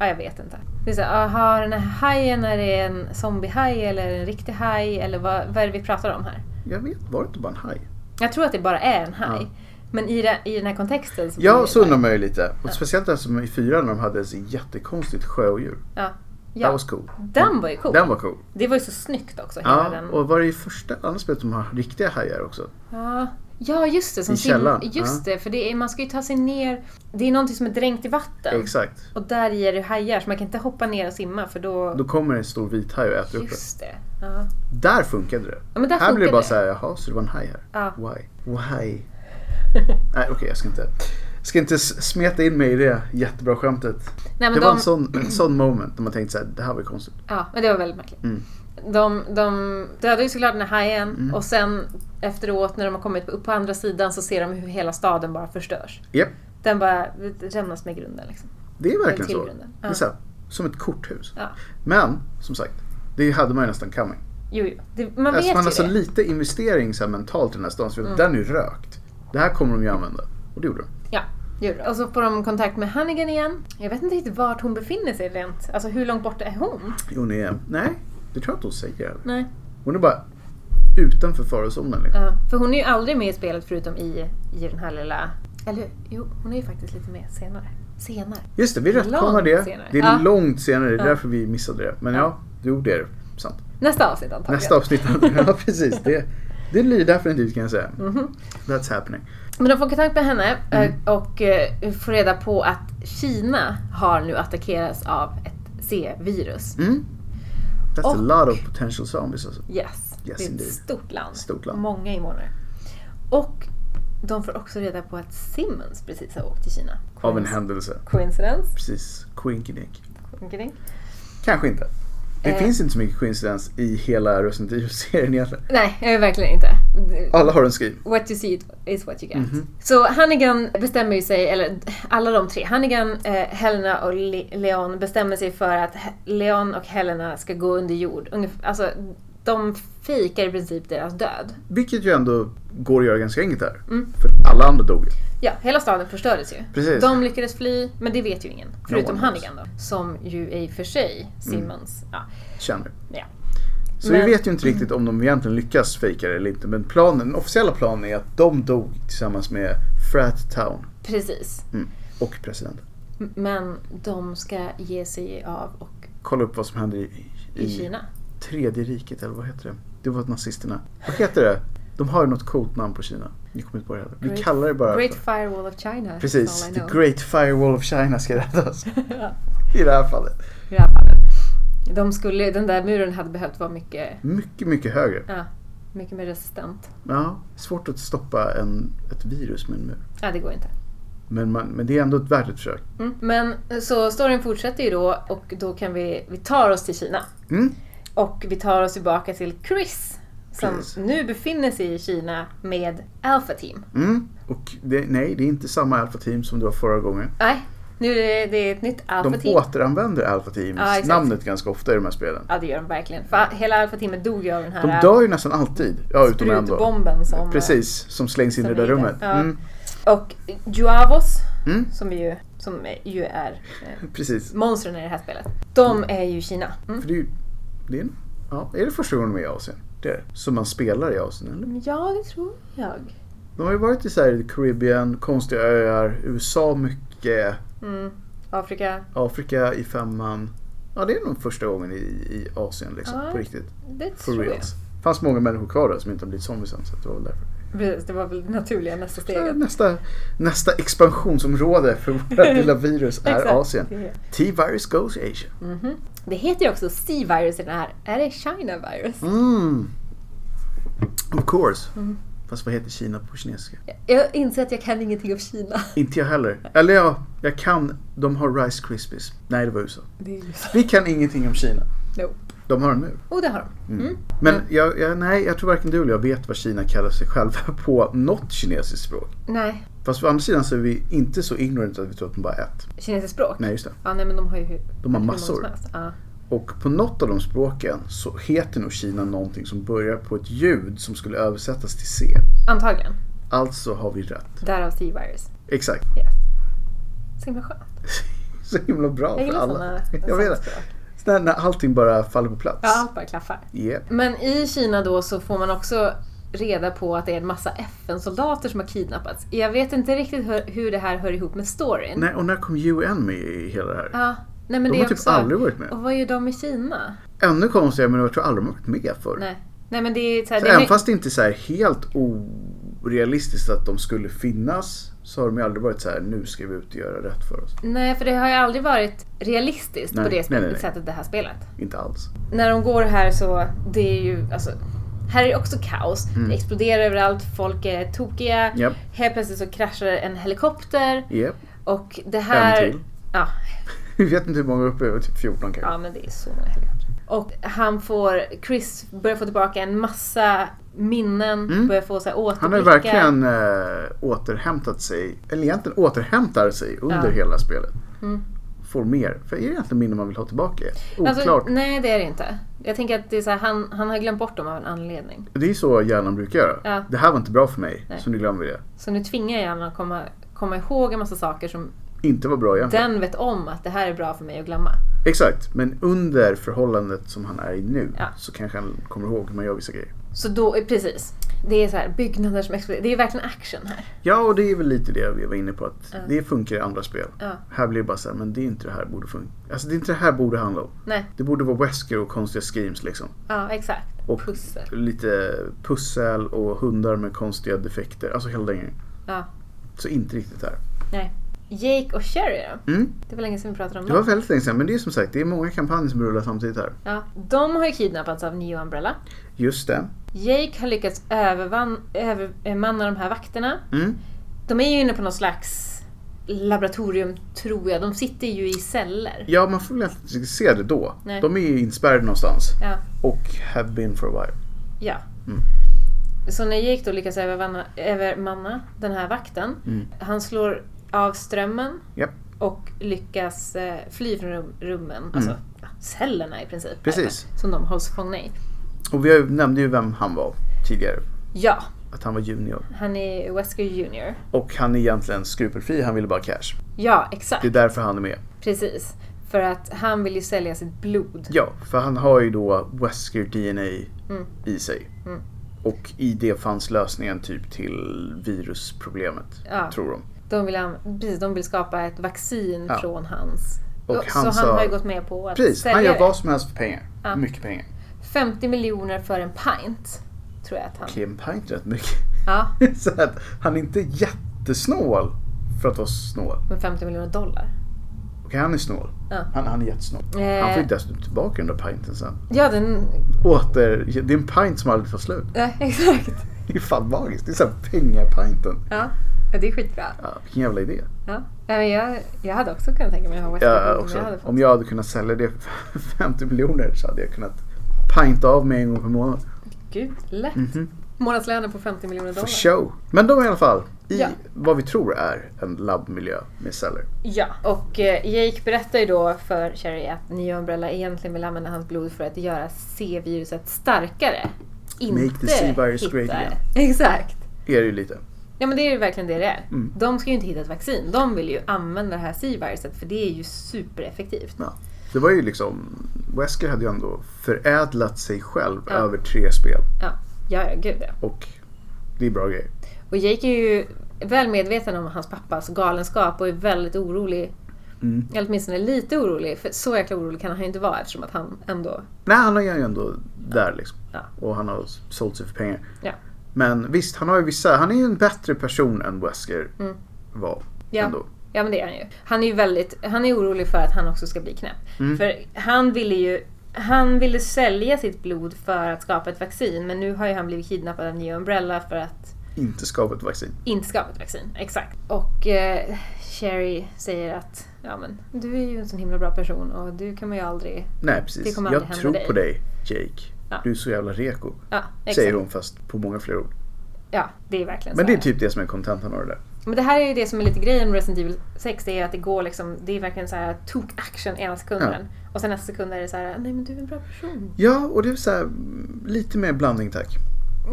Speaker 3: ja, jag vet inte. Det är så här, aha, den här hajen, är det en zombiehaj eller är det en riktig haj? Eller vad, vad är det vi pratar om här?
Speaker 1: Jag vet, var det inte bara en haj?
Speaker 3: Jag tror att det bara är en haj.
Speaker 1: Ja.
Speaker 3: Men i, det, i den här kontexten så blir
Speaker 1: Ja,
Speaker 3: det-
Speaker 1: så undrar man ju lite. Och speciellt det som i fyran när de hade ett jättekonstigt sjöodjur.
Speaker 3: Ja.
Speaker 1: Ja. That
Speaker 3: ja.
Speaker 1: was cool.
Speaker 3: Den var ju cool.
Speaker 1: Den var cool.
Speaker 3: Det var ju så snyggt också. Hela
Speaker 1: Ja,
Speaker 3: den.
Speaker 1: och var det i första andra spelet de har riktiga hajar också?
Speaker 3: Ja, ja just det. Som
Speaker 1: I källaren,
Speaker 3: sim- Just det, för det är, man ska ju ta sig ner. Det är någonting som är dränkt i vatten.
Speaker 1: Exakt.
Speaker 3: Och där i är det hajar, så man kan inte hoppa ner och simma för då...
Speaker 1: Då kommer en stor vit haj och äter upp det.
Speaker 3: just det. Ja.
Speaker 1: Där funkade det.
Speaker 3: Ja, men där
Speaker 1: här blir
Speaker 3: funkar
Speaker 1: det bara
Speaker 3: det.
Speaker 1: så här, jaha, så det var en haj här.
Speaker 3: Ja.
Speaker 1: Why? Why? Nej, okej, jag ska inte, ska inte s- smeta in mig i det jättebra skämtet.
Speaker 3: Nej, men
Speaker 1: det
Speaker 3: de,
Speaker 1: var en sån, en sån moment när man tänkte så här, det här var ju konstigt.
Speaker 3: ja, men det var väldigt märkligt.
Speaker 1: Mm.
Speaker 3: De, de dödar ju såklart den här hajen och sen efteråt när de har kommit upp på andra sidan så ser de hur hela staden bara förstörs.
Speaker 1: Japp,
Speaker 3: Den bara rämnas med grunden liksom.
Speaker 1: det är verkligen
Speaker 3: till
Speaker 1: så.
Speaker 3: grunden.
Speaker 1: Det är
Speaker 3: Ja.
Speaker 1: så här, som ett korthus.
Speaker 3: Ja.
Speaker 1: Men, som sagt, det hade man ju nästan coming.
Speaker 3: Jo, jo. Det, man
Speaker 1: Alltså,
Speaker 3: vet
Speaker 1: man
Speaker 3: ju
Speaker 1: har så
Speaker 3: det. Mm.
Speaker 1: lite investering så här, mentalt i den här stan, så den är ju rökt. Det här kommer de ju använda. Och det gjorde de.
Speaker 3: Ja, det gjorde de. Och så får de kontakt med Hannigan igen. Jag vet inte riktigt vart hon befinner sig rent. Alltså hur långt borta är hon?
Speaker 1: Jo, nej, nej, det tror jag inte hon säger. heller.
Speaker 3: Nej.
Speaker 1: Hon är bara utanför farozonen. Liksom.
Speaker 3: Ja, för hon är ju aldrig med i spelet förutom i, i den här lilla... Eller hur? Jo, hon är ju faktiskt lite med senare. Senare.
Speaker 1: Just det, vi rättkomnar
Speaker 3: Långt
Speaker 1: det.
Speaker 3: senare.
Speaker 1: Det är
Speaker 3: Ja.
Speaker 1: långt senare, det är
Speaker 3: Ja.
Speaker 1: därför vi missade det. Men ja, jo det är det. sant.
Speaker 3: Nästa avsnitt antagligen.
Speaker 1: Nästa avsnitt. ja, precis. Det, det lyder definitivt kan jag säga.
Speaker 3: Mhm.
Speaker 1: That's happening.
Speaker 3: Men de får kontakt med henne eh,
Speaker 1: Mm.
Speaker 3: och eh, får reda på att Kina har nu attackerats av ett C-virus.
Speaker 1: Mm. That's
Speaker 3: Och-
Speaker 1: a lot of potential zombies alltså.
Speaker 3: Yes.
Speaker 1: Yes,
Speaker 3: det är ett
Speaker 1: indeed.
Speaker 3: stort land.
Speaker 1: Stort land.
Speaker 3: Många invånare. Och de får också reda på att Simmons precis har åkt till Kina.
Speaker 1: Av en händelse.
Speaker 3: Coincidence.
Speaker 1: Precis. Quinkydink.
Speaker 3: Omkring.
Speaker 1: Kanske inte. Det
Speaker 3: Eh.
Speaker 1: finns inte så mycket coincidence i hela Resident Evil-serien egentligen.
Speaker 3: Nej, eh, verkligen inte. Det-
Speaker 1: Alla har en skriv.
Speaker 3: What you see is what you get.
Speaker 1: Mhm.
Speaker 3: Så Hannigan bestämmer ju sig, eller alla de tre, Hannigan, eh, Helena och Le- Leon bestämmer sig för att He- Leon och Helena ska gå under jord. Ungef- alltså, de fejkar i princip deras död.
Speaker 1: Vilket ju ändå går att göra ganska enkelt här.
Speaker 3: Mm.
Speaker 1: För alla andra dog ju.
Speaker 3: Ja, hela staden förstördes ju.
Speaker 1: Precis.
Speaker 3: De lyckades fly, men det vet ju ingen. Förutom
Speaker 1: knows. Mm.
Speaker 3: Hannigan då. Som ju är i och för sig Simmons. Ja.
Speaker 1: Känner.
Speaker 3: Ja.
Speaker 1: Så
Speaker 3: Men-
Speaker 1: vi vet ju inte riktigt om de egentligen lyckas fejka det eller inte. Men planen, den officiella planen är att de dog tillsammans med Frat Town
Speaker 3: Precis.
Speaker 1: mm. och presidenten.
Speaker 3: M- Men de ska ge sig av och
Speaker 1: Kolla upp vad som händer i,
Speaker 3: i Kina.
Speaker 1: Tredje riket eller vad heter det? Det var nazisterna. Vad heter det? De har ju något coolt namn på Kina. Ni kommer inte på det heller. Vi
Speaker 3: Great-
Speaker 1: kallar det bara
Speaker 3: Great
Speaker 1: för...
Speaker 3: Firewall of China. is
Speaker 1: Precis,
Speaker 3: all I
Speaker 1: the
Speaker 3: know.
Speaker 1: Great Firewall of China ska räddas.
Speaker 3: Ja,
Speaker 1: I det här fallet.
Speaker 3: I det här fallet. De skulle, den där muren hade behövt vara mycket,
Speaker 1: Mycket, mycket högre.
Speaker 3: ja, mycket mer resistent.
Speaker 1: Ja, svårt att stoppa en, ett virus med en mur.
Speaker 3: Ja, det går inte.
Speaker 1: Men, man, men det är ändå ett värt ett försök.
Speaker 3: Mm. Men så storyn fortsätter ju då och då kan vi, vi tar oss till Kina.
Speaker 1: Mm.
Speaker 3: Och vi tar oss tillbaka till Chris. Som
Speaker 1: Precis.
Speaker 3: nu befinner sig i Kina med Alpha Team.
Speaker 1: Mm. Och det, nej, det är inte samma Alpha Team som det var förra gången.
Speaker 3: Nej, nu är det, det är ett nytt Alpha
Speaker 1: De
Speaker 3: Team.
Speaker 1: återanvänder Alpha Teams
Speaker 3: Ja, exakt.
Speaker 1: namnet ganska ofta i de här spelen.
Speaker 3: Ja, det gör de verkligen. För hela Alpha Teamet dog ju av den här
Speaker 1: De dör ju nästan alltid. Ja, utom en då.
Speaker 3: sprutbomben som... eh,
Speaker 1: Precis, som slängs in i
Speaker 3: som
Speaker 1: det där
Speaker 3: är där.
Speaker 1: rummet.
Speaker 3: Ja.
Speaker 1: Mm,
Speaker 3: Och Juavos,
Speaker 1: Mm.
Speaker 3: som ju, som ju är eh,
Speaker 1: precis.
Speaker 3: monstren i det här spelet. De är ju Kina. Mm.
Speaker 1: För det är ju... Det är, en- ja, är det första gången de är i Asien? Det är det. Som man spelar i Asien, eller?
Speaker 3: Ja, det tror jag.
Speaker 1: De har ju varit i så här, Caribbean, konstiga öar, USA mycket,
Speaker 3: Mm. Afrika.
Speaker 1: Afrika i femman. Ja, det är nog första gången i, i Asien liksom,
Speaker 3: Ja,
Speaker 1: på riktigt.
Speaker 3: Det
Speaker 1: For
Speaker 3: tror jag.
Speaker 1: reals. fanns många människor kvar där som inte har blivit zombies än. Så det var väl därför.
Speaker 3: Precis, det var väl det naturliga nästa
Speaker 1: Så
Speaker 3: steget.
Speaker 1: Nästa, nästa expansionsområde för vårt lilla virus är
Speaker 3: Exakt.
Speaker 1: Asien. T-virus goes Asia.
Speaker 3: Mm-hmm. Det heter ju också Sea virus i den här. Är det China virus?
Speaker 1: Mm. Of course. Fast vad heter Kina på kinesiska?
Speaker 3: Jag inser att jag kan ingenting om Kina.
Speaker 1: Inte jag heller. Eller ja, jag kan. De har Rice Krispies. Nej, det var USA.
Speaker 3: Det är ju så.
Speaker 1: Vi kan ingenting om Kina.
Speaker 3: Nope.
Speaker 1: De har en mur.
Speaker 3: Och det har de.
Speaker 1: Mm.
Speaker 3: Mm.
Speaker 1: Men jag, jag, nej, jag tror varken du eller jag vet vad Kina kallar sig själva på något kinesiskt språk.
Speaker 3: Nej,
Speaker 1: Fast å andra sidan så är vi inte så ignorant att vi tror att de bara är ett.
Speaker 3: kinesiskt språk?
Speaker 1: Nej, just det.
Speaker 3: Ja, nej men de har ju hur
Speaker 1: De har
Speaker 3: hur många
Speaker 1: massor.
Speaker 3: som helst. Ja.
Speaker 1: Och på något av de språken så heter nog Kina någonting som börjar på ett ljud som skulle översättas till C.
Speaker 3: Antagligen.
Speaker 1: Alltså har vi rätt.
Speaker 3: Därav Sea virus.
Speaker 1: Exakt.
Speaker 3: Yes. Så himla skönt.
Speaker 1: Så himla bra
Speaker 3: Jag
Speaker 1: för
Speaker 3: gillar
Speaker 1: alla.
Speaker 3: sådana
Speaker 1: Jag vet det.
Speaker 3: samspråk.
Speaker 1: När, när allting bara faller på plats.
Speaker 3: Ja, allt bara klaffar.
Speaker 1: Yep.
Speaker 3: Men i Kina då så får man också reda på att det är en massa FN-soldater som har kidnappats. Jag vet inte riktigt hur, hur det här hör ihop med storyn.
Speaker 1: Nej, och när kom UN med i hela det här?
Speaker 3: Ja, nej men
Speaker 1: de har
Speaker 3: det är
Speaker 1: typ
Speaker 3: också...
Speaker 1: aldrig varit med.
Speaker 3: Och vad gör de i Kina?
Speaker 1: Ännu konstigare, men jag tror aldrig de har varit med förr.
Speaker 3: Nej. Nej men det är så här,
Speaker 1: Så
Speaker 3: det är
Speaker 1: även fast det inte är så här helt orealistiskt att de skulle finnas så har de ju aldrig varit så här nu ska vi ut och göra rätt för oss.
Speaker 3: Nej, för det har ju aldrig varit realistiskt
Speaker 1: Nej,
Speaker 3: på det
Speaker 1: nej,
Speaker 3: spelet,
Speaker 1: nej, nej.
Speaker 3: sättet det här spelet.
Speaker 1: Inte alls.
Speaker 3: När de går här så, det är ju alltså, här är det också kaos.
Speaker 1: Mm.
Speaker 3: Det exploderar överallt, folk är tokiga.
Speaker 1: Japp.
Speaker 3: Helt plötsligt så kraschar en helikopter.
Speaker 1: Yep.
Speaker 3: Och det här...
Speaker 1: En till.
Speaker 3: Ja,
Speaker 1: Vi vet inte hur många uppe är, typ 14 kanske.
Speaker 3: ja, men det är så många helikoptrar. Och han får, Chris börjar få tillbaka en massa minnen, börjar få så här återblickar.
Speaker 1: Mm. Han har ju verkligen eh, återhämtat sig, eller egentligen återhämtar sig under
Speaker 3: Ja.
Speaker 1: hela spelet. Får mer. För är det egentligen minnen man vill ha tillbaka? Oklart.
Speaker 3: Mm. Alltså, nej, det är det inte. Jag tänker att det är så här, han, han har glömt bort dem av en anledning.
Speaker 1: Det är så hjärnan brukar göra.
Speaker 3: Ja.
Speaker 1: Det här var inte bra för mig,
Speaker 3: Nej.
Speaker 1: så nu glömmer vi det.
Speaker 3: Så nu tvingar jag honom att komma, komma ihåg en massa saker som
Speaker 1: Inte var bra egentligen.
Speaker 3: den vet om att det här är bra för mig att glömma.
Speaker 1: Exakt, men under förhållandet som han är i nu
Speaker 3: Ja.
Speaker 1: så kanske han kommer ihåg hur man gör vissa grejer.
Speaker 3: Så då, eh, precis. Det är så här, byggnader som exploderar. Det är verkligen action här.
Speaker 1: Ja, och det är väl lite det vi var inne på att det funkar i andra spel.
Speaker 3: Ja.
Speaker 1: Här blir det bara så här, men det är inte det här borde funka. Alltså det är inte det här borde handla om.
Speaker 3: Nej,
Speaker 1: Det borde vara Wesker och konstiga screams liksom.
Speaker 3: ja exakt.
Speaker 1: Och
Speaker 3: Pussel.
Speaker 1: lite pussel och hundar med konstiga defekter. Alltså hela den grejen.
Speaker 3: Ja,
Speaker 1: Så inte riktigt här.
Speaker 3: nej. Jake och Sherry då?
Speaker 1: Mm.
Speaker 3: Det var länge sedan vi pratade om
Speaker 1: Det var
Speaker 3: dem.
Speaker 1: väldigt länge sedan, men det är som sagt, det är många kampanjer som rullar samtidigt här.
Speaker 3: Ja, de har ju kidnappats av Neo Umbrella.
Speaker 1: Just det.
Speaker 3: Jake har lyckats övervan, övermanna de här vakterna.
Speaker 1: Mm.
Speaker 3: De är ju inne på någon slags laboratorium, tror jag. De sitter ju i celler.
Speaker 1: Ja, man får väl egentligen inte se det då.
Speaker 3: Nej.
Speaker 1: De är ju inspärrade någonstans.
Speaker 3: Ja.
Speaker 1: Och have been for a while.
Speaker 3: Ja.
Speaker 1: Mm.
Speaker 3: Så när Jake då lyckas övermanna, övermanna den här vakten,
Speaker 1: Mm.
Speaker 3: han slår av strömmen
Speaker 1: Japp.
Speaker 3: och lyckas eh, fly från rum, rummen, alltså ja, cellerna i princip.
Speaker 1: Mm. Precis.
Speaker 3: här, Som de hålls fångna i.
Speaker 1: Och vi har ju- nämnde ju vem han var tidigare.
Speaker 3: Ja,
Speaker 1: Att han var junior.
Speaker 3: han är Wesker Junior.
Speaker 1: Och han är egentligen skrupelfri, han ville bara cash.
Speaker 3: Ja,
Speaker 1: Det är
Speaker 3: exakt.
Speaker 1: därför han är med.
Speaker 3: Precis. För att han vill ju sälja sitt blod.
Speaker 1: Ja, för han har ju då Wesker DNA
Speaker 3: Mm.
Speaker 1: i sig. Och i det fanns lösningen typ till virusproblemet,
Speaker 3: Ja.
Speaker 1: tror de.
Speaker 3: De vill, an- precis, de vill skapa ett vaccin
Speaker 1: Ja.
Speaker 3: från hans.
Speaker 1: Och
Speaker 3: så
Speaker 1: han
Speaker 3: han
Speaker 1: sa-
Speaker 3: har ju gått med på att
Speaker 1: Precis,
Speaker 3: sälja
Speaker 1: han gör
Speaker 3: det.
Speaker 1: vad som helst för pengar.
Speaker 3: Ja.
Speaker 1: Mycket pengar.
Speaker 3: 50 miljoner för en pint. Tror jag att han...
Speaker 1: Kim Pint rätt mycket.
Speaker 3: Ja,
Speaker 1: Så att han är inte jättesnål för att vara snål.
Speaker 3: men 50 miljoner dollar.
Speaker 1: Okej, han är snål.
Speaker 3: Ja.
Speaker 1: Han, han är jättesnål.
Speaker 3: Eh.
Speaker 1: Han får ju dessutom tillbaka den där pinten sen.
Speaker 3: Ja, den...
Speaker 1: Åter, det är en pint som aldrig tar slut.
Speaker 3: Ja, exakt.
Speaker 1: Det är fan magiskt. Det är såhär pengapinten.
Speaker 3: Ja, ja, det är skitbra.
Speaker 1: Ja, vilken jävla idé.
Speaker 3: Ja. Ja, men jag, jag hade också kunnat tänka mig att ha West
Speaker 1: Ja,
Speaker 3: Ham om jag
Speaker 1: också.
Speaker 3: hade fått.
Speaker 1: Om jag hade kunnat sälja det för 50 miljoner så hade jag kunnat pinta av mig en gång per månad.
Speaker 3: Gud, lätt.
Speaker 1: Mm.
Speaker 3: Månadslönen på 50 miljoner
Speaker 1: For
Speaker 3: dollar.
Speaker 1: show. Men de är i alla fall i
Speaker 3: Ja.
Speaker 1: vad vi tror är en labbmiljö med celler.
Speaker 3: Ja, och eh, Jake berättar ju då för Sherry att Nya Umbrella egentligen vill använda hans blod för att göra C-viruset starkare. Inte
Speaker 1: Make the C-virus
Speaker 3: hitta-
Speaker 1: great again.
Speaker 3: Exakt.
Speaker 1: Är det ju lite.
Speaker 3: Ja men det är ju verkligen det det är.
Speaker 1: Mm.
Speaker 3: De ska ju inte hitta ett vaccin. De vill ju använda det här C-viruset för det är ju supereffektivt.
Speaker 1: Ja. Det var ju liksom, Wesker hade ju ändå förädlat sig själv
Speaker 3: Ja.
Speaker 1: över tre spel.
Speaker 3: Ja, ja, ja gud ja.
Speaker 1: Och det är bra grejer.
Speaker 3: Och Jake är ju väl medveten om hans pappas galenskap och är väldigt orolig
Speaker 1: Mm.
Speaker 3: Eller åtminstone lite orolig, för så jäkla orolig kan han ju inte vara eftersom att han ändå...
Speaker 1: Nej, han är ju ändå där liksom.
Speaker 3: Ja.
Speaker 1: Och han har sålt sig för pengar.
Speaker 3: Ja.
Speaker 1: Men visst, han har ju vissa, han är ju en bättre person än Wesker
Speaker 3: Mm.
Speaker 1: var.
Speaker 3: Ja.
Speaker 1: Ändå.
Speaker 3: Ja men det är han ju. Han är ju väldigt, han är orolig för att han också ska bli knäpp.
Speaker 1: Mm.
Speaker 3: För han ville ju, han ville sälja sitt blod för att skapa ett vaccin men nu har ju han blivit kidnappad av New Umbrella för att
Speaker 1: Inte skapa ett vaccin.
Speaker 3: inte skapa ett vaccin. Exakt. Och eh, Sherry säger att ja men du är ju en sån himla bra person och du kan man ju aldrig...
Speaker 1: Nej
Speaker 3: Det
Speaker 1: precis.
Speaker 3: kommer aldrig
Speaker 1: Jag
Speaker 3: hända
Speaker 1: tror
Speaker 3: dig.
Speaker 1: på dig Jake.
Speaker 3: Ja.
Speaker 1: Du är så jävla reko.
Speaker 3: Ja, exakt.
Speaker 1: Säger hon fast på många fler ord.
Speaker 3: Ja, det är verkligen
Speaker 1: Men
Speaker 3: så
Speaker 1: det är
Speaker 3: här.
Speaker 1: typ det som är kontentan av det där.
Speaker 3: Men det här är ju det som är lite grejen med Resident Evil 6. Det är att det går liksom, det är verkligen så här tok-action ena sekunden. Och sen nästa sekund är det så här, nej men du är en bra person.
Speaker 1: Ja, och det är så här, mm, lite mer blandning tack.